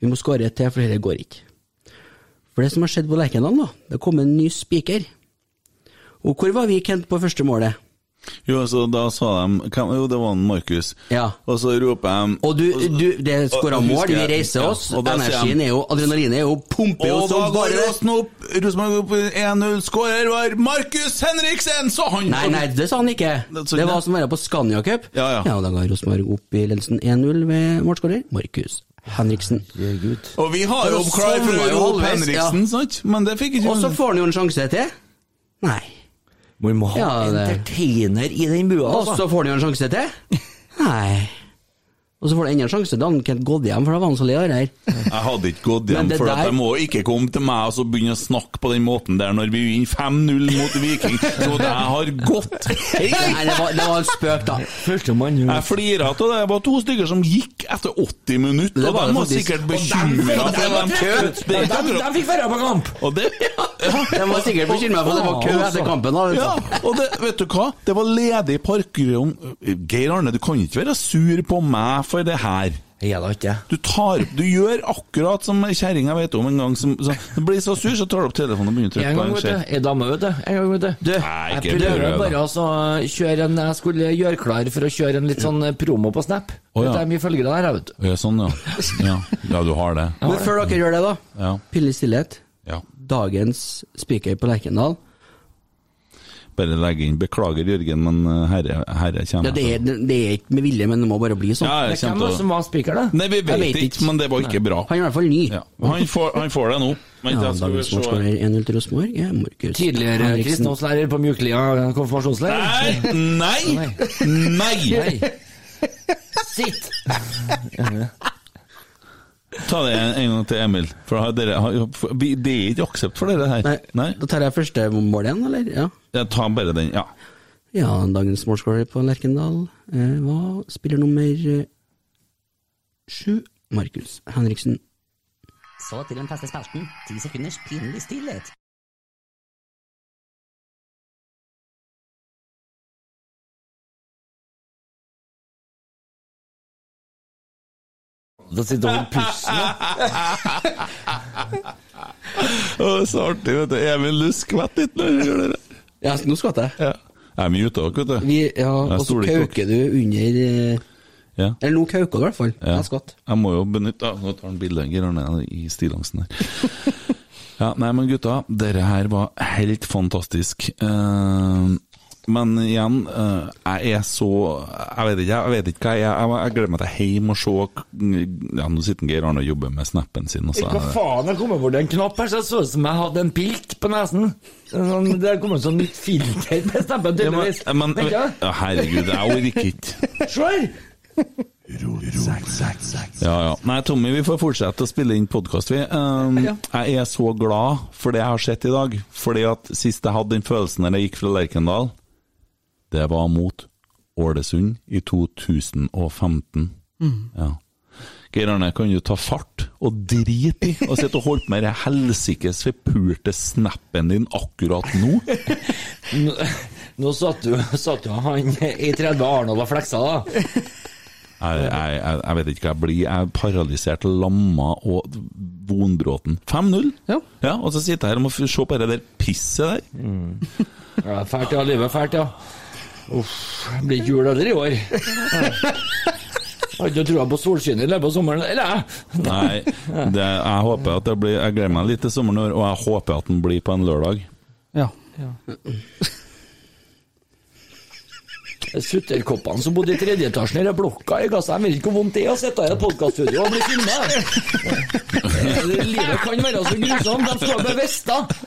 Speaker 5: Vi må skåre et til, for dette går ikke. For det som har skjedd på Lerkendal, da, det kom en ny spiker. Og hvor var vi, Kent, på første målet?
Speaker 3: Jo, så da sa de hvem- Jo, det var han Markus.
Speaker 5: Ja.
Speaker 3: Og så roper de
Speaker 5: Og du, du det skåra
Speaker 3: Og- og
Speaker 5: mål,
Speaker 3: husker
Speaker 5: vi
Speaker 3: jeg-
Speaker 5: reiser
Speaker 3: ja,
Speaker 5: oss,
Speaker 3: og da sier
Speaker 5: energien
Speaker 3: de-
Speaker 5: er jo Adrenalinet er jo pumper jo
Speaker 3: Og da
Speaker 5: som
Speaker 3: går
Speaker 5: bare
Speaker 3: Rosen opp. Rosenborg opp 1-0. Skårer var Markus Henriksen! Så han
Speaker 5: Nei, nei, det sa han ikke.
Speaker 3: Det sa
Speaker 5: Det
Speaker 3: ikke
Speaker 5: var
Speaker 3: det.
Speaker 5: som å være på Scania Cup.
Speaker 3: Ja, ja.
Speaker 5: da ga Rosenborg opp i ledelsen 1-0 ved målskårer Markus Henriksen.
Speaker 3: Og vi har
Speaker 5: Det
Speaker 3: jo
Speaker 5: var
Speaker 3: klar for
Speaker 5: sånn
Speaker 3: å
Speaker 5: var jo
Speaker 3: rope
Speaker 5: halvveis,
Speaker 3: Henriksen,
Speaker 5: ja.
Speaker 3: sant? Men det fikk ikke
Speaker 5: Og så får han jo en sjanse til. Nei.
Speaker 6: Vi må ha
Speaker 5: Ja, det-
Speaker 6: entertainer i den bua,
Speaker 5: Og så
Speaker 6: altså.
Speaker 5: får han jo en sjanse til. Nei. Og så får han enda en sjanse til han Kent Godhjem, for da var han så lei av det her.
Speaker 3: Jeg hadde ikke gått hjem,
Speaker 5: Men det
Speaker 3: for at
Speaker 5: der-
Speaker 3: jeg må ikke komme til meg og så begynne å snakke på den måten der når vi vinner 5-0 mot Viking. Så det har gått.
Speaker 5: Nei, det var, det var en spøk, da.
Speaker 6: Førstemann
Speaker 3: Jeg flira av det. Det var to stykker som gikk etter 80 minutter,
Speaker 5: Det
Speaker 3: og
Speaker 5: var
Speaker 3: de var
Speaker 5: faktisk-
Speaker 3: sikkert
Speaker 5: Og dem-
Speaker 3: bekymra
Speaker 5: og dem var kø.
Speaker 6: De, de fikk være på kamp!
Speaker 3: Og det
Speaker 5: Jeg var sikkert bekymra for at det var kø etter kampen. Da.
Speaker 3: Ja, og det, vet du hva? Det var ledig parkrom Geir Arne, du kan ikke være sur på meg for det her.
Speaker 6: Er det ikke?
Speaker 3: Du tar opp Du gjør akkurat som kjerringa vet om en gang som så, Du blir så sur, så tar du opp telefonen og begynner å trykke
Speaker 6: En
Speaker 3: på
Speaker 6: gang,
Speaker 3: en
Speaker 6: vet du.
Speaker 3: skje.
Speaker 6: En dame, vet du. En gang, vet du. Du, jeg
Speaker 3: ikke prøv,
Speaker 6: prøver
Speaker 3: da.
Speaker 6: bare altså, å kjøre en Jeg skulle gjøre klar for å kjøre en litt sånn eh, promo på Snap.
Speaker 3: Å, ja.
Speaker 6: Det er mye følgere der, jeg, vet du.
Speaker 3: Ja, sånn, ja. ja. Ja, du har det.
Speaker 5: Men før dere gjør det, da.
Speaker 3: Ja.
Speaker 5: Pille i stillhet.
Speaker 3: Ja.
Speaker 5: Dagens speaker på Lerkendal.
Speaker 3: Bare legge inn 'beklager, Jørgen, men eh, herre, herre kommer'.
Speaker 5: Ja, det, er, det er ikke med vilje, men det må bare bli sånn.
Speaker 3: Ja, jeg Det er kommer hvem til å- som
Speaker 6: var speaker, da?
Speaker 3: Nei, vi vet, ikke, men det var ikke bra.
Speaker 5: Han er i hvert fall ny.
Speaker 3: Han får, han får det nå. Men
Speaker 5: Ja,
Speaker 3: jeg skal
Speaker 5: dagens
Speaker 3: se-
Speaker 5: sportsmåler 1-0 til Rosenborg. Ja, Markus
Speaker 6: Tidligere
Speaker 5: Henriksen.
Speaker 6: kristendomslærer på Mjuklia eh, konfirmasjonsleir.
Speaker 3: Nei! Nei!
Speaker 6: Sitt!
Speaker 3: Ta det en, en gang til, Emil. For har dere, har, for- vi- det er ikke aksept for dere her.
Speaker 5: Nei, Da tar jeg første mål igjen, eller? Ja.
Speaker 3: Jeg tar bare den, ja.
Speaker 5: ja, dagens målskårer på Lerkendal eh, var spiller nummer eh, sju, Markus Henriksen.
Speaker 8: Så til den faste spalten, ti sekunders pinlig stillhet.
Speaker 6: Da sitter hun og pusler.
Speaker 3: Å, det er så artig, vet du. Emil, du skvett litt når du gjør det.
Speaker 5: Ja, nå skvatt jeg.
Speaker 3: Ja. Jeg er mye ute òg, vet du.
Speaker 5: Vi, ja,
Speaker 3: Jeg
Speaker 5: og så
Speaker 3: stoler ikke på
Speaker 5: kauker du under eh,
Speaker 3: Ja.
Speaker 5: Eller nå kauker du i hvert fall.
Speaker 3: Ja.
Speaker 5: Jeg skvatt.
Speaker 3: Jeg må jo benytte ah, Nå tar han bildet Geir Arne i stillongsen der. Ja, nei, men gutta, dere her var helt fantastisk. Eh, men igjen, eh, jeg er så Jeg vet ikke, jeg vet ikke hva jeg er. Jeg, jeg gleder meg til hjem og se Ja, nå sitter Geir Arne og jobber med snappen sin. altså. Og så,
Speaker 6: Eh, Hva faen, jeg kom over en knapp her, så jeg så ut som jeg hadde en pilt på nesen. Sånn, det kom en sånn nytt filter med stemmen,
Speaker 3: Ja, men,
Speaker 6: tydeligvis.
Speaker 3: men,
Speaker 6: Vet ikke?
Speaker 3: ja, herregud, jeg orker ikke.
Speaker 6: Se her!
Speaker 3: Ja, ja. Nei, Tommy, vi får fortsette å spille inn podkast, vi. Um, Jeg er så glad for det jeg har sett i dag. Fordi at sist jeg hadde den følelsen når jeg gikk fra Lerkendal, det var mot Ålesund i 2015.
Speaker 2: Mm.
Speaker 3: Ja. Geir Arne, kan du ta fart og drite i å sitte og holde på med den helsikes forpulte snappen din akkurat nå?
Speaker 6: Nå, nå satt jo, satt jo han i 30 Arnold og fleksa, da.
Speaker 3: Jeg, jeg, jeg, jeg vet ikke hva jeg blir. Jeg er paralysert, lamma og vonbråten. 5-0! Ja. Og så sitter jeg her og må f- se på det der pisset der.
Speaker 6: Ja, fælt, ja. Livet er fælt, ja. Uff, det blir ikke jul heller i år. Har ikke trua på solskinnet i løpet av sommeren, eller jeg?
Speaker 3: Nei, det, jeg håper at det blir Jeg gleder meg litt til sommeren, i år, og jeg håper at den blir på en lørdag.
Speaker 6: Sutterkoppene som bodde i tredje etasjen i den blokka i Gaza, jeg vet ikke hvor vondt det er å sitte her i et podkaststudio og bli filma. Livet kan være så grusomt. De står med vester.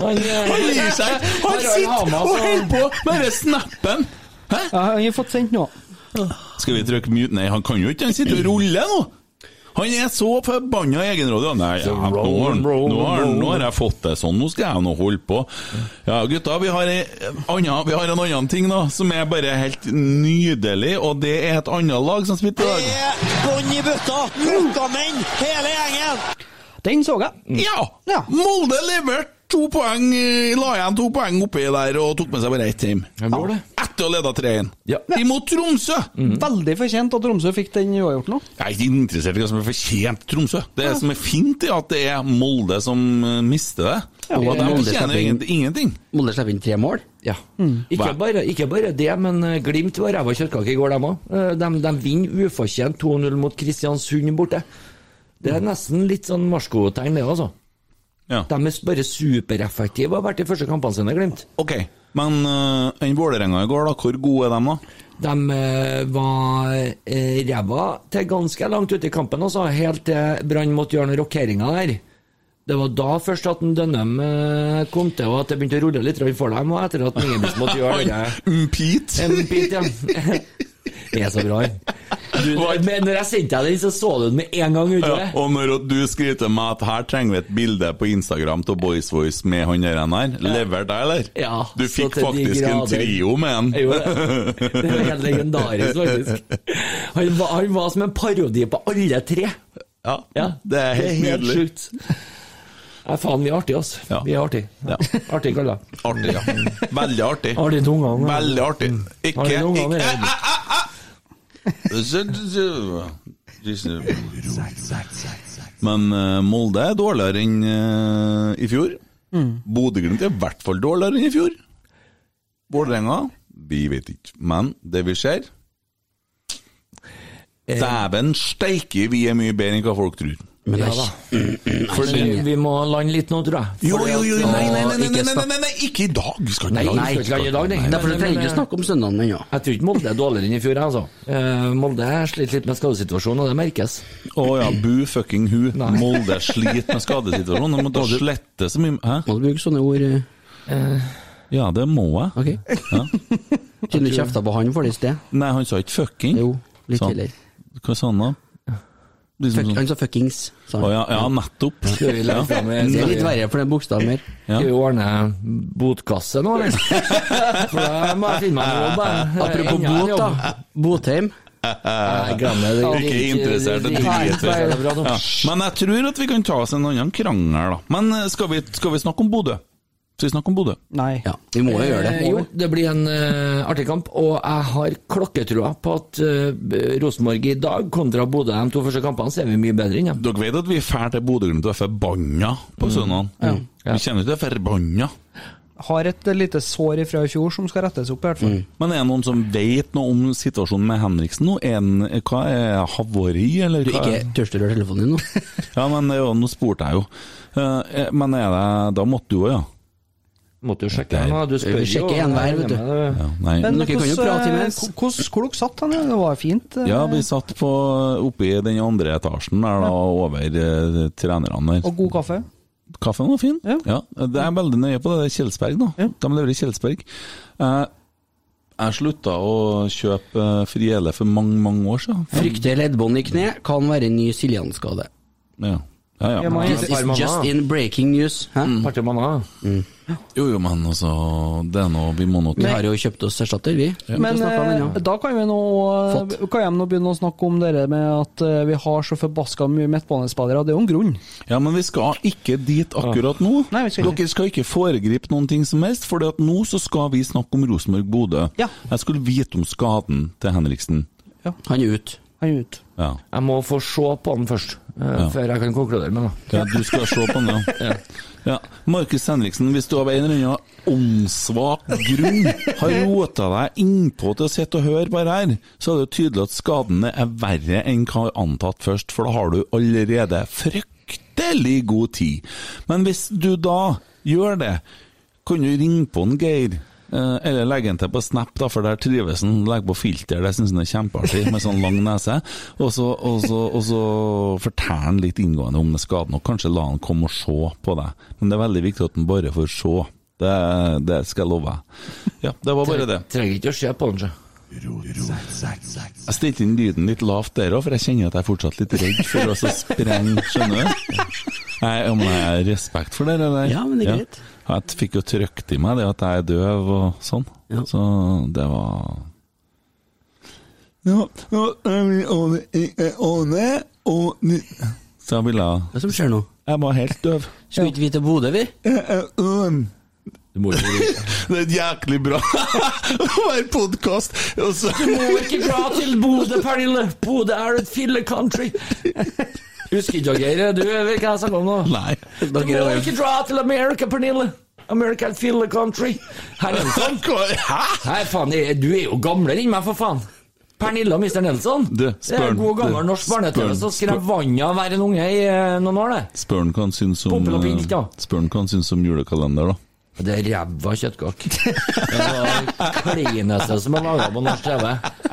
Speaker 6: Han, eh,
Speaker 2: Han gir seg ikke. Han sitter og holder
Speaker 3: på med den snappen! Hæ?
Speaker 4: Ja, han har fått sendt noe.
Speaker 3: Skal vi trykke mute? Nei, han kan jo ikke, han sitter og ruller nå! Han er så forbanna egenrådig. Nei, ja, nå, har han- nå, har han- nå har jeg fått det sånn, nå skal jeg nå holde på. Ja, gutta, vi har, ei anna, vi har en annen ting da, som er bare helt nydelig, og det er et annet lag som spiller i dag.
Speaker 2: Bånn i bøtta! Møkkamenn, hele gjengen!
Speaker 4: Den så jeg.
Speaker 3: Ja! Molde leverte to poeng, eh, la igjen to poeng oppi der og tok med seg bare ett hjem. Etter å ha leda 3-1. Imot Tromsø!
Speaker 6: Mm.
Speaker 4: Veldig fortjent at Tromsø fikk den uavgjort nå.
Speaker 3: Jeg er ikke interessert i hva som er fortjent Tromsø. Det som er fint, er at det er Molde som eh, mister det. og de fortjener ingenting. ingenting.
Speaker 5: Molde slipper inn tre mål.
Speaker 6: Ja. Ikke, bare, ikke bare det, men eh, Glimt var ræva kjøttkake i går, dem òg. De, de vinner ufortjent 2-0 mot Kristiansund borte. Det er nesten litt sånn marskotegn, det, altså. De er bare supereffektive og har vært i første kampene sine, Glimt.
Speaker 3: Ok, Men eh, enn Vålerenga i går, da. Hvor gode er de, da?
Speaker 6: De eh, var eh, ræva til ganske langt ute i kampen, altså. Helt til Brann måtte gjøre noen rokeringer der. Det var da først at en Dønnem eh, kom til, og at det begynte å rulle litt rundt for dem. Og etter at Ingebrigtsen måtte gjøre det
Speaker 3: Umpit.
Speaker 6: Umpit, ja. Det er så bra, han. Du, men når jeg sendte deg den, så så du den med en gang ute.
Speaker 3: Ja, og når du skriver til meg at her trenger vi et bilde på Instagram av Boys Voice med han der han her, lever deg, eller?
Speaker 6: Ja,
Speaker 3: du
Speaker 6: så
Speaker 3: fikk
Speaker 6: til de
Speaker 3: faktisk en
Speaker 6: grader.
Speaker 3: trio med han.
Speaker 6: Jeg gjorde det. Det var helt legendarisk, faktisk. Han var, han var som en parodi på alle tre.
Speaker 3: Ja, det er helt nydelig.
Speaker 6: sjukt. Nei, faen, vi er artige, altså. Vi er artige. Artige kaller jeg.
Speaker 3: Artig, ja. Veldig artig.
Speaker 6: Artig tunga, ja.
Speaker 3: Veldig artig. Ikke,
Speaker 6: Artig tunga,
Speaker 3: ikke
Speaker 6: det er
Speaker 3: Æ, æ, æ, æ! Men eh, Molde er dårligere enn eh, i fjor. Bodø-Glimt er i hvert fall dårligere enn i fjor. Vålerenga Vi vet ikke. Men det vi ser Eh. Dæven steike, vi er mye bedre enn hva folk tror.
Speaker 6: Men ja da. For vi- vi må lande litt nå, tror jeg.
Speaker 3: Jo, jo, jo, nei, nei, nei, nei, nei, nei, nei,
Speaker 6: nei,
Speaker 3: nei, ikke i dag! Vi skal
Speaker 6: Nei,
Speaker 3: ikke
Speaker 6: vi skal ikke i dag, nei.
Speaker 5: Derfor
Speaker 6: Men-
Speaker 4: eh,
Speaker 5: trenger vi ikke
Speaker 6: men-
Speaker 5: snakke om søndagen ennå.
Speaker 6: Jeg tror ikke Molde er dårligere enn i fjor, jeg, altså. Eh, Molde sliter litt med skadesituasjonen, og det merkes.
Speaker 3: Å ja, bu fucking hu. Molde sliter med skadesituasjonen. De må da slette så mye Hæ?
Speaker 5: Må du bruke sånne ord? eh,
Speaker 3: Ja, det må jeg.
Speaker 6: Eh,
Speaker 3: Ja.
Speaker 5: Kunne du kjefta på han for det i sted?
Speaker 3: Nei, han sa ikke fucking. Jo,
Speaker 5: litt tidligere.
Speaker 3: Hva sa han da? Liksom
Speaker 5: Fuck,
Speaker 3: sånn-
Speaker 5: han sa fuckings, sa han.
Speaker 3: Å ja, ja, nettopp.
Speaker 5: Skal vi legge fram en- Det er litt verre, for det er bokstaver mer.
Speaker 6: Skal vi ordne botkasse nå, eller? For da må jeg finne meg en jobb, jeg.
Speaker 5: Apropos
Speaker 6: Jeg har en
Speaker 5: bot,
Speaker 6: jobb.
Speaker 5: da. Eh, Botheim.
Speaker 3: Nei,
Speaker 6: glem det. Det er
Speaker 3: Ikke
Speaker 6: ikke-
Speaker 3: interessert i
Speaker 6: det er ikke- det er bra
Speaker 3: nyheter.
Speaker 6: nå.
Speaker 3: Ja. Men jeg tror at vi kan ta oss en annen krangel, da. Men eh, skal vi, skal vi snakke om Bodø? Skal vi snakke om Bodø?
Speaker 4: Nei.
Speaker 3: Ja, vi må jo gjøre det.
Speaker 6: Eh, Jo, det blir en eh, artig kamp, og jeg har klokketrua på at eh, Rosenborg i dag kontra Bodø de to første kampene, så er vi mye bedre enn dem.
Speaker 3: Dere vet at vi drar til Bodø-Glimt og er forbanna
Speaker 5: Mm.
Speaker 3: på søndag. Vi kjenner ikke det forbanna.
Speaker 4: Har et lite sår ifra i fjor som skal rettes opp, i hvert
Speaker 5: Mm.
Speaker 4: fall.
Speaker 3: Men er det noen som vet noe om situasjonen med Henriksen nå? Er den, hva er havari, eller
Speaker 5: Du,
Speaker 3: hva?
Speaker 5: ikke tørster du av telefonen din nå?
Speaker 3: ja, men det er jo- nå spurte jeg jo. Eh, Men er det Da måtte du òg, ja?
Speaker 6: Måtte jo sjekke
Speaker 3: Der.
Speaker 6: den, du spør
Speaker 5: Vi sjekker en hver, vet du.
Speaker 3: Ja, nei.
Speaker 4: Men
Speaker 5: dere kan jo
Speaker 4: hvordan,
Speaker 5: prate
Speaker 4: eh,
Speaker 5: imens.
Speaker 4: hvor- Hvordan hvor dere satt han? Det var fint. eh,
Speaker 3: Ja, vi satt på, oppe i den andre etasjen der, da, over eh, trenerne der.
Speaker 4: Og god kaffe.
Speaker 3: Kaffen var fin. Ja. Det er veldig nøye på det. Det er Kjelsberg, da. De leverer Kjelsberg. Eh, jeg slutta å kjøpe eh, Friele for mange, mange år siden.
Speaker 5: Frykter leddbånd i kne kan være en ny Siljan-skade.
Speaker 3: Ja. Ja, ja.
Speaker 5: This is just in breaking news. Hæ?
Speaker 3: Mm. Jo, jo, men altså Det er noe vi må nå
Speaker 5: Vi har jo kjøpt oss erstatter, vi.
Speaker 4: Men
Speaker 5: Vi snakker om den, ja.
Speaker 4: eh, da kan vi nå kan jeg nå begynne å snakke om dere med at eh, vi har så forbaska mye midtbanespillere. Det er jo en grunn.
Speaker 3: Ja, men vi skal ikke dit akkurat nå. Dere skal ikke foregripe noen ting som helst, for at nå så skal vi snakke om Rosenborg-Bodø. Jeg skulle vite om skaden til Henriksen.
Speaker 5: Han er ute.
Speaker 4: Han er ute.
Speaker 3: Ja.
Speaker 6: Jeg må få se på den først, eh,
Speaker 3: Ja.
Speaker 6: før jeg kan konkludere med det.
Speaker 3: Ja, du skal se på den, ja. ja. Markus Henriksen, hvis du av en eller annen åndssvak grunn har rota deg innpå til å sitte og høre på det her, så er det jo tydelig at skadene er verre enn hva antatt først, for da har du allerede fryktelig god tid. Men hvis du da gjør det, kan du ringe på en Geir. eh, Eller legge den til på Snap, da, for der trives han. Legg på filter, det syns han er kjempeartig, med sånn lang nese. Og så, og så, og så fortell han litt inngående om den skaden, og kanskje la han komme og se på deg. Men det er veldig viktig at han bare får se. Det, det skal jeg love deg. Ja, det var bare det.
Speaker 6: Trenger ikke å se på den, så.
Speaker 3: Jeg stilte inn lyden litt lavt der òg, for jeg kjenner at jeg er fortsatt litt redd for å så sprenge, skjønner du? Nei, ja, men jeg har respekt for det der.
Speaker 5: Ja, men det er greit.
Speaker 3: Jeg fikk jo trykt i meg det at jeg er døv og sånn, så det var Nå, nå er vi over i Åne og ny... Så jeg ville Hva
Speaker 5: som skjer nå?
Speaker 3: Jeg var helt døv.
Speaker 5: Skulle ikke vi til Bodø, vi?
Speaker 6: Du må ikke
Speaker 3: Det er jæklig bra å være podkast!
Speaker 6: Du må ikke dra til Bodø, Pernille! Bodø er et fille-country! Husker ikke dere, du vet hva jeg snakker om nå?
Speaker 3: Nei.
Speaker 6: Du må ikke dra til America, Pernille! America er et fille-country! Herr Nelson! Nei, faen, jeg- du er jo gamlere enn meg, for faen! Pernille og Mr. Nelson!
Speaker 3: Du,
Speaker 6: Det er
Speaker 3: spør
Speaker 6: en god
Speaker 3: han.
Speaker 6: gammel
Speaker 3: Du,
Speaker 6: norsk barne-TV
Speaker 3: spør
Speaker 6: som
Speaker 3: han.
Speaker 6: skrev vannet av å være en unge i eh, noen år, det.
Speaker 3: Spør han hva han syns om eh,
Speaker 6: Pompel og pilt, ja.
Speaker 3: Spør han hva han syns om julekalender, da.
Speaker 6: Det er ræva kjøttkake. Det var det klineste som er laga på norsk TV.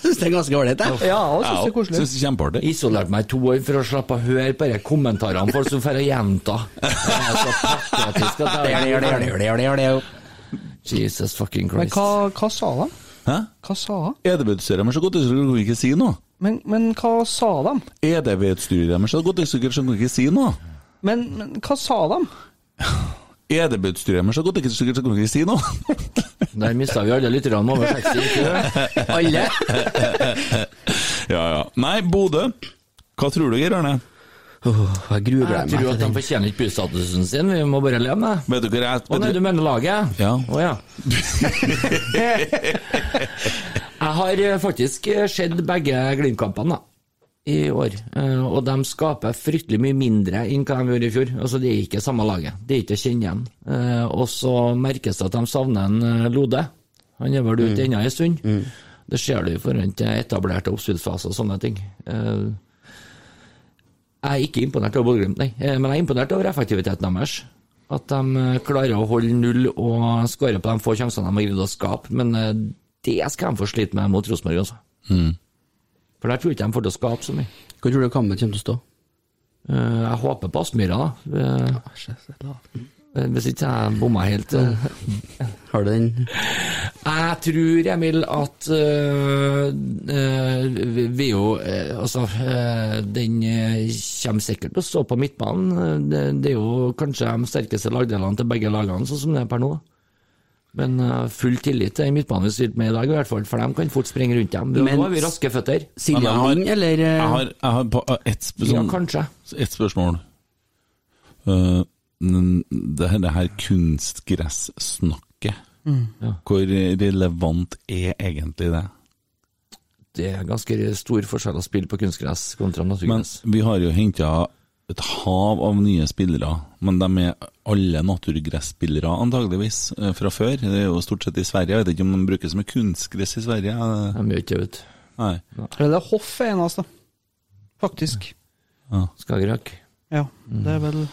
Speaker 5: Syns det er ganske ålreit, jeg.
Speaker 3: Synes det er kjempeartig.
Speaker 6: Isolerte meg i to år for å slippe å høre på de kommentarene folk som får å gjenta. Det er så patetisk at
Speaker 5: Det gjør det, gjør det, gjør det, gjør det, gjør det, jo.
Speaker 6: Jesus fucking
Speaker 4: Men
Speaker 6: Christ.
Speaker 4: hva, hva sa de?
Speaker 3: Hæ?
Speaker 4: Hva sa de?
Speaker 3: EDB-utstyret deres er godt, så kan ikke si noe.
Speaker 4: Men, men hva sa de?
Speaker 3: EDB-utstyret deres er godt, så kan ikke si noe.
Speaker 4: Men, men hva sa de?
Speaker 3: EDB-utstyret deres er godt, så kan ikke si noe.
Speaker 6: Der mista vi alle lytterne over 60. ikke det?
Speaker 5: Alle?
Speaker 3: ja, ja. Nei, Bodø. Hva tror du, Geir Arne?
Speaker 5: jeg gruer
Speaker 6: Jeg tror at de fortjener ikke bystatusen sin, vi må bare leve med det.
Speaker 3: Vet du hva jeg
Speaker 6: Å nei, du mener laget?
Speaker 3: Ja.
Speaker 6: Å ja. Jeg har eh, faktisk eh, sett begge Glimt-kampene da, i år, Eh, og de skaper fryktelig mye mindre enn hva de gjorde i fjor. Altså, Det er ikke samme laget, det er ikke å kjenne igjen. Eh, Og så merkes det at de savner en eh, Lode. Han er vel ute
Speaker 5: Mm.
Speaker 6: ennå en stund. Det ser du i forhold til etablerte oppspillsfaser og sånne ting. Eh, Jeg er ikke imponert over Bodø-Glimt, nei. Eh, Men jeg er imponert over effektiviteten deres. At de eh, klarer å holde null og skåre på de få sjansene de har greid å skape. Men eh, det skal de få slite med mot Rosenborg, altså. For der tror jeg ikke de får til å skape så mye. Eh,
Speaker 5: Hva Mm. tror du kampen kommer til å stå?
Speaker 6: Jeg håper på Aspmyra, da. Eh, eh, Hvis ikke jeg bomma helt. eh.
Speaker 5: Har du den?
Speaker 6: Jeg tror, Emil, at øh, øh, vi- vi er jo øh, Altså, øh, den øh, kommer sikkert til å stå på midtbanen. Øh, Det, det er jo kanskje de sterkeste lagdelene til begge lagene, sånn som det er per nå. Men øh, full tillit til den midtbanen vi stilte med i dag, i hvert fall, for de kan fort springe rundt dem. Men, nå har vi raske føtter.
Speaker 3: Men jeg har-
Speaker 4: eh?
Speaker 5: eh?
Speaker 3: Jeg har, jeg har på- ett sp-
Speaker 6: Ja,
Speaker 3: sånn-
Speaker 6: kanskje.
Speaker 3: ett spørsmål. Eh, n- det, her, det her kunstgressnakket,
Speaker 6: Mm. Ja.
Speaker 3: hvor relevant er egentlig det?
Speaker 6: Det er ganske stor forskjell å spille på kunstgress kontra
Speaker 3: Men
Speaker 6: naturgress.
Speaker 3: vi har jo henta et hav av nye spillere, men de er alle naturgresspillere antageligvis eh, fra før. Det er jo stort sett i Sverige, jeg vet ikke om de bruker så mye kunstgress i Sverige. Eh, De
Speaker 6: gjør ikke det,
Speaker 3: vet du.
Speaker 4: Eller Hoff er en av oss, da. Faktisk.
Speaker 6: Skagerrak. Mm.
Speaker 4: Ja, det er vel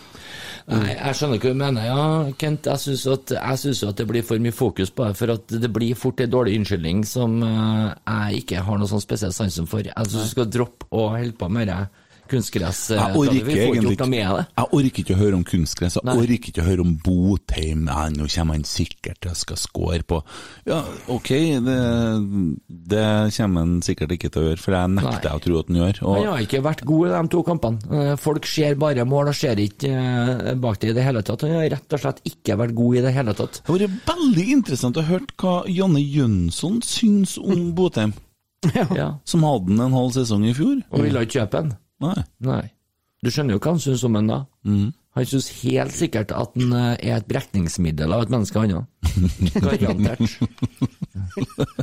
Speaker 6: Nei, jeg skjønner ikke hva du mener. Ja, Kent, jeg syns at, jeg synes jo at det blir for mye fokus på det, for at det blir fort en dårlig unnskyldning som eh, jeg ikke har noe sånn spesiell sansen for. Jeg syns du skal droppe å holde på med det kunstgress. eh,
Speaker 3: Jeg orker
Speaker 6: Vi får ikke
Speaker 3: egentlig
Speaker 6: gjort noe med det.
Speaker 3: ikke- Jeg orker ikke å høre om kunstgress, jeg
Speaker 6: Nei.
Speaker 3: orker ikke å høre om Botheim. Nei, nå kommer han sikkert og skal score på Ja, ok, det, det kommer han sikkert ikke til å gjøre, for det nekter jeg å tro at han gjør.
Speaker 6: Han har ikke vært god i de to kampene. Eh, Folk ser bare mål og ser ikke eh, bak det i det hele tatt. Han har rett og slett ikke vært god i det hele tatt.
Speaker 3: Det har vært veldig interessant å høre hva Janne Jønsson syns om Botheim, som hadde han en halv sesong i fjor.
Speaker 6: Og ville ikke kjøpe han.
Speaker 3: Nei.
Speaker 6: Du skjønner jo hva han syns om han da.
Speaker 3: Mm.
Speaker 6: Han syns helt sikkert at han eh, er et brekningsmiddel av et menneske, han òg. Garantert.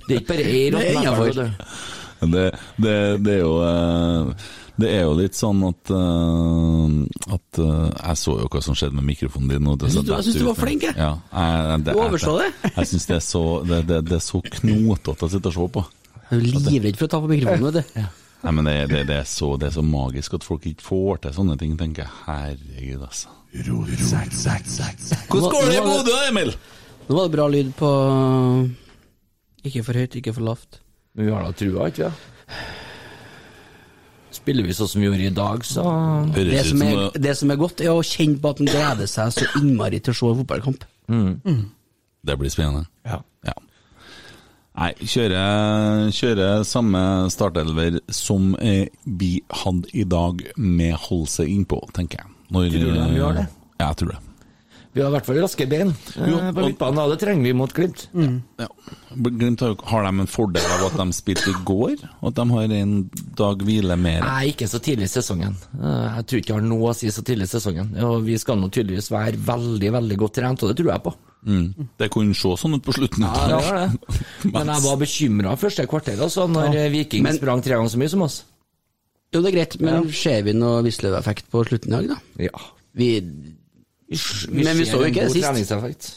Speaker 6: Det er ikke bare ei
Speaker 3: Det er
Speaker 6: rotte
Speaker 3: innenfor.
Speaker 6: never, vet du.
Speaker 3: Det, det, det er jo eh, Det er jo litt sånn at eh, At eh, Jeg så jo hva som skjedde med mikrofonen din. og det
Speaker 5: Jeg
Speaker 3: så
Speaker 5: synes du- jeg
Speaker 3: datt
Speaker 5: synes du
Speaker 3: ut
Speaker 5: var flink, jeg.
Speaker 3: Ja, jeg,
Speaker 5: Du overså
Speaker 3: jeg- Jeg synes det er så Det, det, det er så knotete å sitte og se på.
Speaker 5: Jeg er jo livredd for å ta på mikrofonen, vet du.
Speaker 3: Nei, men det, det, det, er så, det er så magisk at folk ikke får til sånne ting, tenker jeg. Herregud, altså. Hvordan går det i Bodø, Emil?
Speaker 5: Nå var det bra lyd på Ikke for høyt, ikke for lavt.
Speaker 6: Men vi har da trua, ikke vi? Spiller vi sånn som vi gjorde i dag, så
Speaker 5: Det som, er, det som er godt, er å kjenne på at en gleder seg så innmari til å se en fotballkamp.
Speaker 3: Det blir spennende.
Speaker 6: Ja.
Speaker 3: Nei, kjøre, kjøre samme startelver som eh, vi hadde i dag, med Holse innpå, tenker jeg. Når, eh,
Speaker 6: Tror du de gjør det?
Speaker 3: Ja, jeg tror det.
Speaker 6: Vi har i hvert fall raske bein eh,
Speaker 3: Jo,
Speaker 6: på
Speaker 3: og- Mm.
Speaker 6: midtbanen, og det trenger vi mot Glimt.
Speaker 3: Glimt har, jo- har de en fordel av at de spilte i går, og at de har en dag hvile mer?
Speaker 6: Nei, ikke så tidlig i sesongen. Eh, Jeg tror ikke jeg har noe å si så tidlig i sesongen. Og vi skal nå tydeligvis være veldig, veldig godt trent, og det tror jeg på.
Speaker 3: Mm. Det kunne se sånn ut på slutten.
Speaker 6: Ja, det var det. Men jeg var bekymra første kvarter, altså, når eh, Viking
Speaker 5: Men-
Speaker 6: sprang tre ganger så mye som oss.
Speaker 5: Jo, det er greit, men
Speaker 6: Ja.
Speaker 5: ser vi noe Wisløw-effekt på slutten i dag, da?
Speaker 6: Ja.
Speaker 5: Vi, men vi
Speaker 6: ser
Speaker 5: så jo
Speaker 6: en
Speaker 5: ikke det
Speaker 6: god
Speaker 5: sist.
Speaker 6: treningseffekt.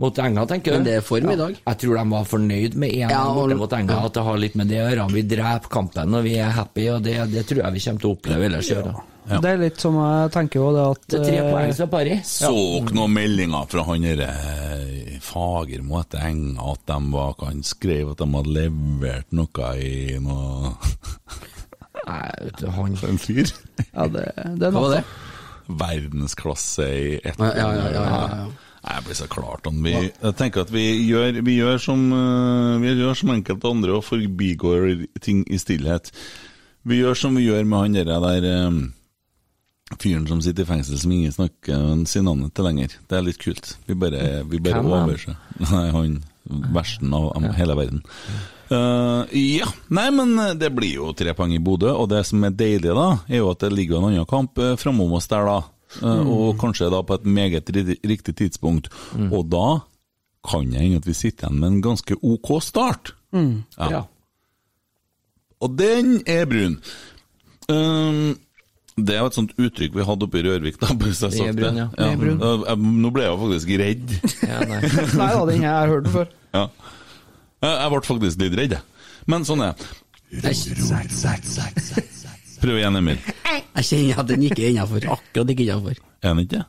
Speaker 6: Mot Enga, tenker du?
Speaker 5: Men det er form i dag.
Speaker 6: Ja, jeg tror de var fornøyd med én
Speaker 5: Ja, og-
Speaker 6: borte mot Enga, at det har litt med det å gjøre. Vi dreper kampen og vi er happy, og det, det tror jeg vi kommer til å oppleve ellers i år. da.
Speaker 4: Det er litt som jeg tenker jo det at
Speaker 6: Det er tre
Speaker 4: eh,
Speaker 6: poeng som er pari.
Speaker 3: Så dere noen meldinger fra han eh, derre Fagermo etter Enga at de var Han skrev at de hadde levert noe i noe
Speaker 6: Nei, vet du, han
Speaker 3: En fyr?
Speaker 4: Ja, det, det er
Speaker 5: Hva var
Speaker 4: noe.
Speaker 5: det?
Speaker 3: Verdensklasse i ett
Speaker 5: Ja, ja, ja, ja, ja, ja.
Speaker 3: Nei, Jeg blir så klart om vi Jeg tenker at vi gjør, vi gjør som eh, Vi gjør som enkelte andre og forbigår ting i stillhet. Vi gjør som vi gjør med han derre der eh, Fyren som sitter i fengsel som ingen snakker eh, sier navnet til lenger. Det er litt kult. Vi bare, vi bare
Speaker 6: Hvem er han?
Speaker 3: overser. Nei, han versten av av hele verden. Eh, ja, nei, men eh, det blir jo tre poeng i Bodø, og det som er deilig da, er jo at det ligger en annen kamp eh,
Speaker 6: Mm.
Speaker 3: framom
Speaker 6: Mm.
Speaker 3: oss der da, Eh, og kanskje da på et meget ri- riktig tidspunkt. Og da kan jeg hende at vi sitter igjen med en ganske ok start.
Speaker 4: Mm.
Speaker 3: Ja. Og den er brun. Ehm, det er jo et sånt uttrykk vi hadde oppe i Rørvik. Da, hvis jeg
Speaker 4: Den er
Speaker 3: sagt
Speaker 4: brun,
Speaker 3: det.
Speaker 4: ja. Den er brun.
Speaker 3: Eh, jeg- Nå ble jeg jo faktisk redd.
Speaker 4: nei. da, den har jeg hørt den før.
Speaker 3: Ja. Jeg, jeg ble faktisk litt redd, jeg. Men sånn er det. Prøv igjen, Emil.
Speaker 5: Jeg kjenner at den ikke er innafor. Akkurat ikke innafor.
Speaker 3: Er den ikke det?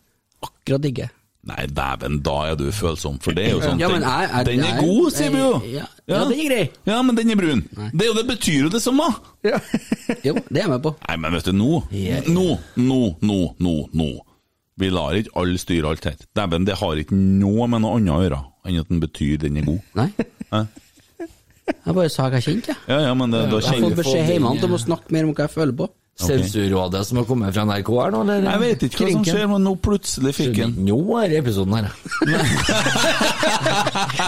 Speaker 5: Akkurat ikke.
Speaker 3: Nei, dæven, da er du følsom, for det er jo sånn
Speaker 5: Ja, men
Speaker 3: ting.
Speaker 5: jeg- jeg-
Speaker 3: Den er
Speaker 5: jeg-
Speaker 3: god, sier vi jo!
Speaker 5: Ja. Ja, den er grei.
Speaker 3: Ja, men den er brun. Det, er jo- det betyr jo det samme!
Speaker 5: jo, det er jeg med på.
Speaker 3: Nei, men vet du, nå Nå, nå, nå, nå, nå. Vi lar ikke alle styre alt her. Dæven, det har ikke noe med noe annet å gjøre enn at den betyr den er god.
Speaker 5: Nei.
Speaker 3: Hæ?
Speaker 5: Jeg bare sa hva jeg kjente, jeg.
Speaker 3: Ja, ja, men det, da
Speaker 5: Jeg har
Speaker 3: kjenner
Speaker 5: fått beskjed hjemmefra om å snakke mer om hva jeg føler på.
Speaker 6: Sensurrådet som har kommet fra NRK her nå, eller?
Speaker 5: Jeg vet ikke hva som skjer,
Speaker 3: men nå plutselig fikk
Speaker 6: han Nå er episoden her,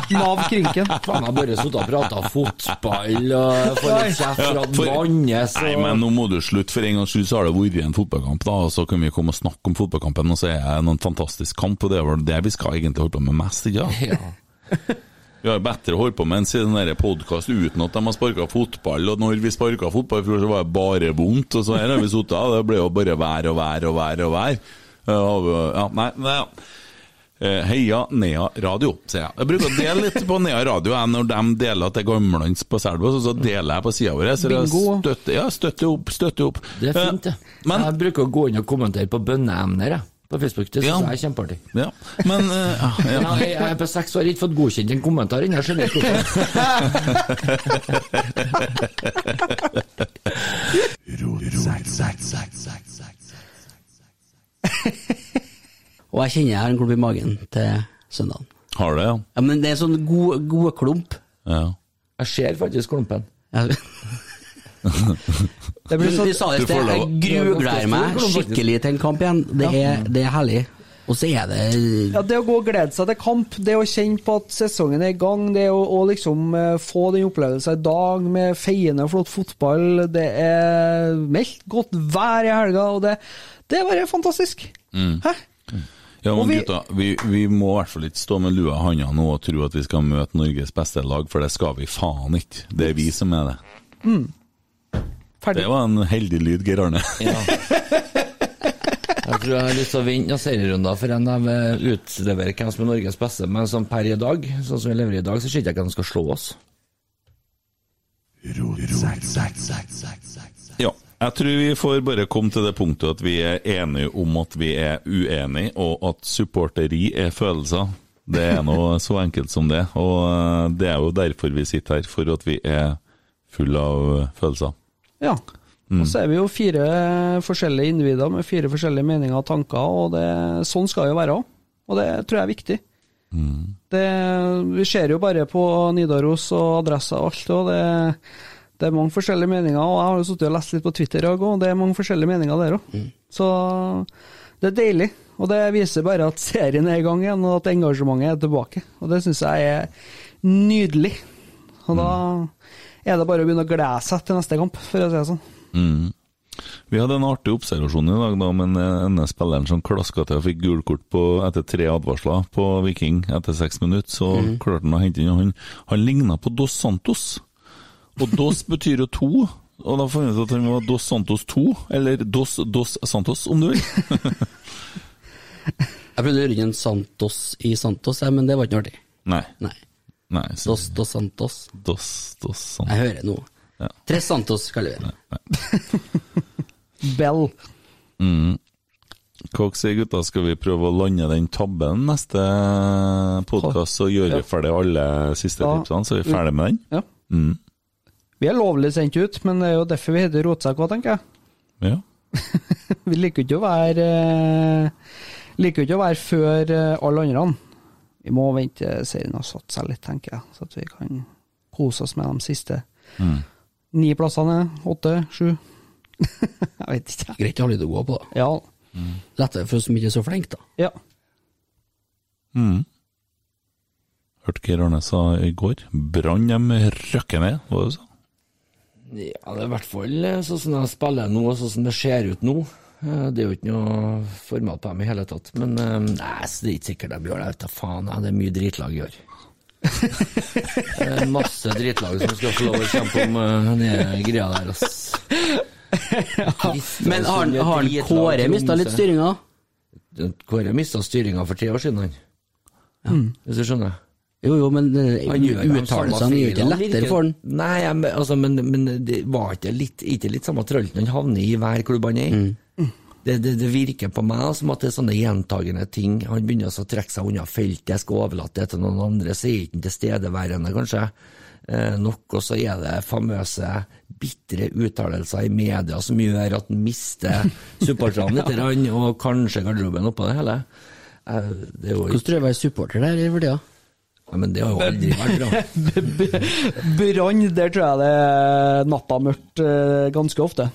Speaker 4: Nav Krinken.
Speaker 6: Faen, jeg har bare sittet og prata fotball og får litt kjeft fra Vannes
Speaker 3: Nei, men nå må du slutte, for en gangs skyld så har det vært en fotballkamp, da, og så kan vi komme og snakke om fotballkampen, og så er det en fantastisk kamp, og det er vel det vi skal egentlig holde på med mest, ikke sant? Vi har bedre å holde på med en siden der podkast uten at de har sparka fotball, og når vi sparka fotball i fjor, så var det bare vondt, og så her har vi sittet, og det ble jo bare vær og vær og vær og vær. Eh, og, Ja, nei, nei. ja. Eh, Heia Nea Radio, sier jeg. Jeg bruker å dele litt på Nea Radio jeg, når de deler at det er gammeldans på Selbu, så deler jeg på sida vår. Så jeg
Speaker 6: Bingo.
Speaker 3: støtter, ja, støtter opp, støtter opp. Eh,
Speaker 6: Det er fint, det. jeg bruker å gå inn og kommentere på bønneemner jeg, på Facebook. Det syns
Speaker 3: Ja.
Speaker 6: jeg er kjempeartig.
Speaker 3: Ja, men eh, ja.
Speaker 6: Nei, jeg, jeg er på seks og har ikke fått godkjent en kommentar ennå, jeg skjønner ikke hvorfor.
Speaker 5: Og jeg kjenner jeg har en klump i magen til søndagen.
Speaker 3: Har det, ja.
Speaker 5: ja men det er sånn god, god klump.
Speaker 3: ja.
Speaker 6: Jeg ser faktisk klumpen.
Speaker 5: Det
Speaker 6: blir sånn-
Speaker 5: Vi sa det i
Speaker 6: Du får
Speaker 5: sted, jeg
Speaker 6: lov.
Speaker 5: grugleder meg skikkelig til en kamp igjen. Det er, det er herlig. Og så er det
Speaker 4: Ja, Det å gå og glede seg til kamp, det å kjenne på at sesongen er i gang, det å, å liksom eh, få den opplevelsen i dag med feiende flott fotball, det er meldt godt vær i helga, og det, det er bare fantastisk.
Speaker 3: Mm.
Speaker 4: Hæ?
Speaker 3: Ja, men
Speaker 4: Og vi-
Speaker 3: gutta, vi, vi må i hvert fall ikke stå med lua i handa nå og tro at vi skal møte Norges beste lag, for det skal vi faen ikke. Det er vi som er det.
Speaker 4: Mm.
Speaker 3: Det var en heldig lyd, Geir Arne.
Speaker 6: Jeg tror jeg har lyst til å vinne noen serierunder for en de eh, utleverer hvem som er Norges beste, men sånn per i dag, sånn som vi lever i dag, så ser jeg ikke hvem som skal slå oss.
Speaker 3: Ja, jeg tror vi får bare komme til det punktet at vi er enige om at vi er uenige, og at supporteri er følelser. Det er nå så enkelt som det, og eh, det er jo derfor vi sitter her, for at vi er full av eh, følelser.
Speaker 4: Ja.
Speaker 3: Mm.
Speaker 4: Og så er vi jo fire forskjellige individer med fire forskjellige meninger og tanker, og det, sånn skal det jo være òg. Og det tror jeg er viktig. Det, vi ser jo bare på Nidaros og adresser og alt, og det, det er mange forskjellige meninger. Og jeg har jo sittet og lest litt på Twitter i dag, og det er mange forskjellige meninger der òg. Så det er deilig. Og det viser bare at serien er i gang igjen, og at engasjementet er tilbake. Og det syns jeg er nydelig. Og da er det bare å begynne å glede seg til neste kamp, for å si det sånn.
Speaker 3: Mm. Vi hadde en artig observasjon i dag da, om en ene spilleren som klaska til og fikk gult kort på, etter tre advarsler på Viking etter seks minutter. Så
Speaker 5: Mhm.
Speaker 3: klarte han å hente inn og han. Han ligna på Dos Santos. Og Dos betyr jo to. Og da fant vi ut at han var Dos Santos 2, eller Dos Dos Santos, om du vil.
Speaker 5: Jeg prøvde å gjøre en Santos i Santos, jeg, men det var ikke noe artig.
Speaker 3: Nei.
Speaker 5: Nei.
Speaker 3: Nei så-
Speaker 5: Dos dos Santos.
Speaker 3: Dos Dos Santos.
Speaker 5: Jeg hører nå.
Speaker 3: Ja.
Speaker 5: Tres Santos, kaller vi det.
Speaker 4: Bell.
Speaker 3: Mm. Hva dere sier gutta, skal vi prøve å lande den tabben neste podkast, så gjør
Speaker 4: Ja.
Speaker 3: vi ferdig alle siste
Speaker 4: Ja.
Speaker 3: tipsene, så er vi ferdig med den?
Speaker 4: Ja.
Speaker 3: Mm.
Speaker 4: Vi er lovlig sendt ut, men det er jo derfor vi heter Rotsekk òg, tenker jeg.
Speaker 3: Ja.
Speaker 4: Vi liker jo ikke å være eh, Liker jo ikke å være før eh, alle andre. Vi må vente til serien har satt seg litt, tenker jeg, så at vi kan kose oss med de siste ni plassene. Åtte, sju. jeg vet ikke.
Speaker 5: Greit å ha litt å gå på, da.
Speaker 4: Ja.
Speaker 5: Lettere for oss som ikke er så flinke, da.
Speaker 4: Ja.
Speaker 3: Mm. Hørte Geir Arne sa i går. Brann dem røkker ned, var det så?
Speaker 6: Ja, det er i hvert fall eh, sånn som de spiller nå, og sånn som det ser ut nå. Eh, Det er jo ikke noe format på dem i hele tatt. Men eh, nei, så det er ikke sikkert de gjør det. Jeg vet da faen, jeg. det er mye dritlag i år. Det er masse dritlag som skal få lov å kjempe om eh, den greia der, ass. altså,
Speaker 5: Men har han- har han Kåre mistet litt styringa?
Speaker 6: Kåre mista styringa for tre år siden, han.
Speaker 4: Mm.
Speaker 6: Hvis du skjønner?
Speaker 5: Jo, jo, men eh,
Speaker 6: Han gjør de samme
Speaker 5: uttalelsene gjør ikke
Speaker 6: feilene.
Speaker 5: lettere for han.
Speaker 6: Nei, jeg, men- altså, men, men det var ikke litt, ikke litt samme trøllten han havner i hver klubb han er i.
Speaker 5: Mm.
Speaker 6: Det, det, det virker på meg som at det er sånne gjentagende ting. Han begynner altså å trekke seg unna feltet, skal overlate det til noen andre, så er ikke han tilstedeværende, kanskje. Eh, nok, og så er det famøse bitre uttalelser i media som gjør at han mister supporterne litt, grann, og kanskje garderoben oppå det hele. Eh, det er jo
Speaker 5: Hvordan tror du jeg var supporter der i for tida?
Speaker 6: Nei, men det har jo aldri vært bra.
Speaker 4: Brann, der tror jeg det er natta mørkt eh, ganske ofte.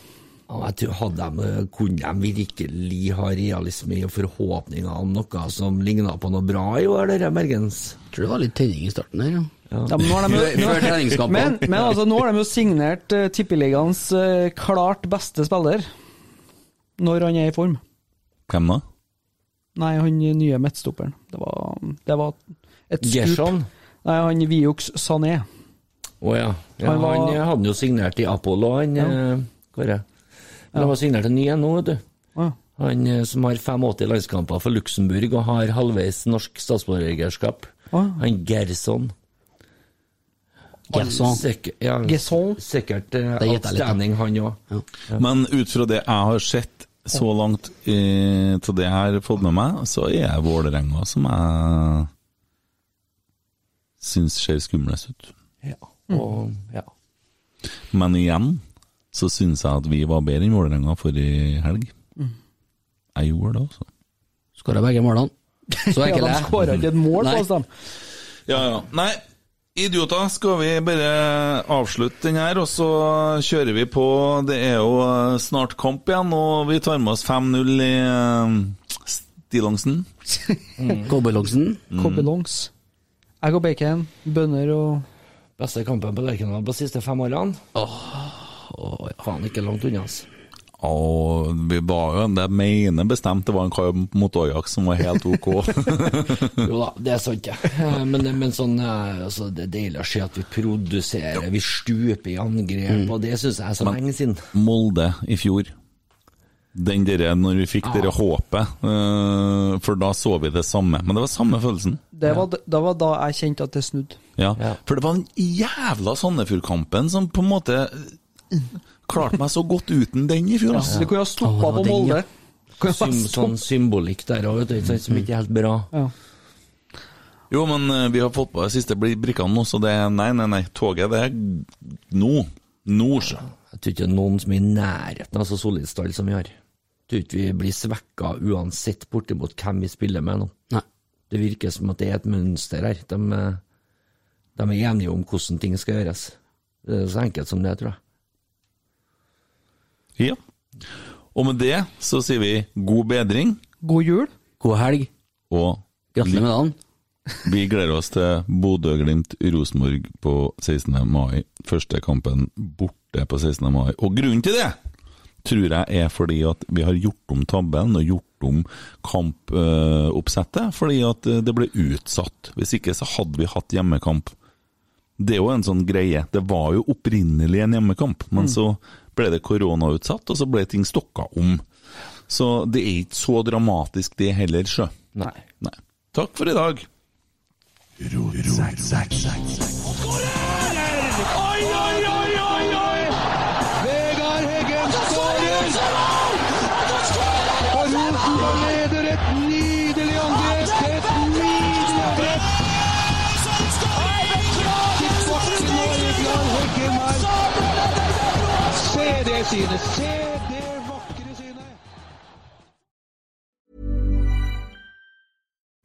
Speaker 6: Ja, Jeg tror hadde de, Kunne de virkelig ha realisme og forhåpninger om noe som ligna på noe bra i år, dere Bergens?
Speaker 5: Tror det var litt tenning i starten der, ja.
Speaker 4: Ja, men, nå har de, jo-
Speaker 5: Før treningskampen.
Speaker 4: men, men altså, nå har de jo signert uh, Tippeligaens eh, klart beste spiller. Når han er i form.
Speaker 3: Hvem da?
Speaker 4: Nei, han nye midtstopperen. Det var, det var et
Speaker 6: Gerson?
Speaker 4: skup. Nei, han Viox Sané.
Speaker 6: Å ja. ja
Speaker 4: Han
Speaker 6: han,
Speaker 4: var-
Speaker 6: eh, hadde jo signert i Apollo, han eh, Kåre. Men han var signert en ny en nå, vet du.
Speaker 4: Ja.
Speaker 6: Han eh, som har 85 landskamper for Luxembourg og har halvveis norsk statsborgerskap.
Speaker 4: Å.
Speaker 6: Han Gerson.
Speaker 3: Gerson.
Speaker 6: Sikkert, ja, sikkert eh,
Speaker 3: Det gjetter jeg litt, da.
Speaker 6: outstanding, han òg.
Speaker 3: Men ut fra det jeg har sett så langt eh, til det jeg har fått med meg, så er jeg Vålerenga som jeg syns ser skumlest ut.
Speaker 4: Mm.
Speaker 6: Og, ja.
Speaker 3: Men igjen så syns jeg at vi var bedre enn Vålerenga forrige helg.
Speaker 4: Mm.
Speaker 3: Jeg gjorde det, altså.
Speaker 5: Skåra begge målene. Så
Speaker 4: Ja,
Speaker 5: enkel
Speaker 4: de
Speaker 5: er
Speaker 4: skåra ikke et mål på
Speaker 5: Nei.
Speaker 4: oss, dem.
Speaker 3: Ja, ja. Nei, idioter, skal vi bare avslutte den her, og så kjører vi på. Det er jo eh, snart kamp igjen, og vi tar med oss 5-0 i eh, stillongsen.
Speaker 5: Cowboylongsen.
Speaker 6: Mm.
Speaker 4: Cowboylongs. Egg og bacon, bønner og
Speaker 6: Beste kampen på Lerkendal på de siste fem årene? Faen, ikke langt unna, altså.
Speaker 3: Og vi var jo, det mener bestemt det var en kamp mot Ajax som var helt ok.
Speaker 6: Jo da, det er sant, ja. Eh, Men, men sånn, eh, altså, det er deilig å se at vi produserer, vi stuper i angrep, og det syns jeg er så
Speaker 3: Men-
Speaker 6: lenge siden.
Speaker 3: Molde i fjor. Den dere, når vi fikk dere håpet, eh, for da så vi det samme. Men det var samme følelsen.
Speaker 4: det var, det var da jeg kjente at det snudde.
Speaker 3: Ja. For det var den jævla Sandefjord-kampen som på en måte eh, klarte meg så godt uten den i fjor.
Speaker 4: Ja, det kunne ha stoppet Åh, på den, Molde. ja. Kan jeg bare
Speaker 6: Sym,
Speaker 4: stoppe?
Speaker 6: sånn symbolikk der òg, vet du, ikke sant, som ikke er helt bra.
Speaker 3: Jo, men eh, vi har fått på de siste bri- brikkene nå, så det er nei, nei, nei. Toget, det er nå. Nå, sjø.
Speaker 6: Jeg tror ikke det er noen som er i nærheten av så solid stall som vi har. Jeg tror ikke vi blir svekka uansett bortimot hvem vi spiller med nå. Det virker som at det er et mønster her. De, eh, de er enige om hvordan ting skal gjøres. Det er så enkelt som det, tror jeg.
Speaker 3: Ja. Og med det så sier vi god bedring.
Speaker 4: God jul.
Speaker 3: God helg. Og
Speaker 5: Gratulerer med dagen.
Speaker 3: Vi gleder oss til Bodø-Glimt-Rosenborg på 16. mai. Første kampen borte på 16. mai. Og grunnen til det tror jeg er fordi at vi har gjort om tabellen og gjort om kampoppsettet. Fordi at eh, det ble utsatt. Hvis ikke så hadde vi hatt hjemmekamp. Det er jo en sånn greie. Det var jo opprinnelig en hjemmekamp, men
Speaker 9: Mm.
Speaker 3: så ble det koronautsatt, og så ble ting stokka om. Så det er ikke så dramatisk det heller, sjø.
Speaker 6: Nei.
Speaker 3: Takk for i dag.
Speaker 2: Oi, oi, oi, oi, oi! Vegard Heggen skårer! Og Rosenborg leder et nydelig angrep! Et nydelig angrep! Tilbake nå, Vegard Heggen her. Se det synet! Se det vakre synet!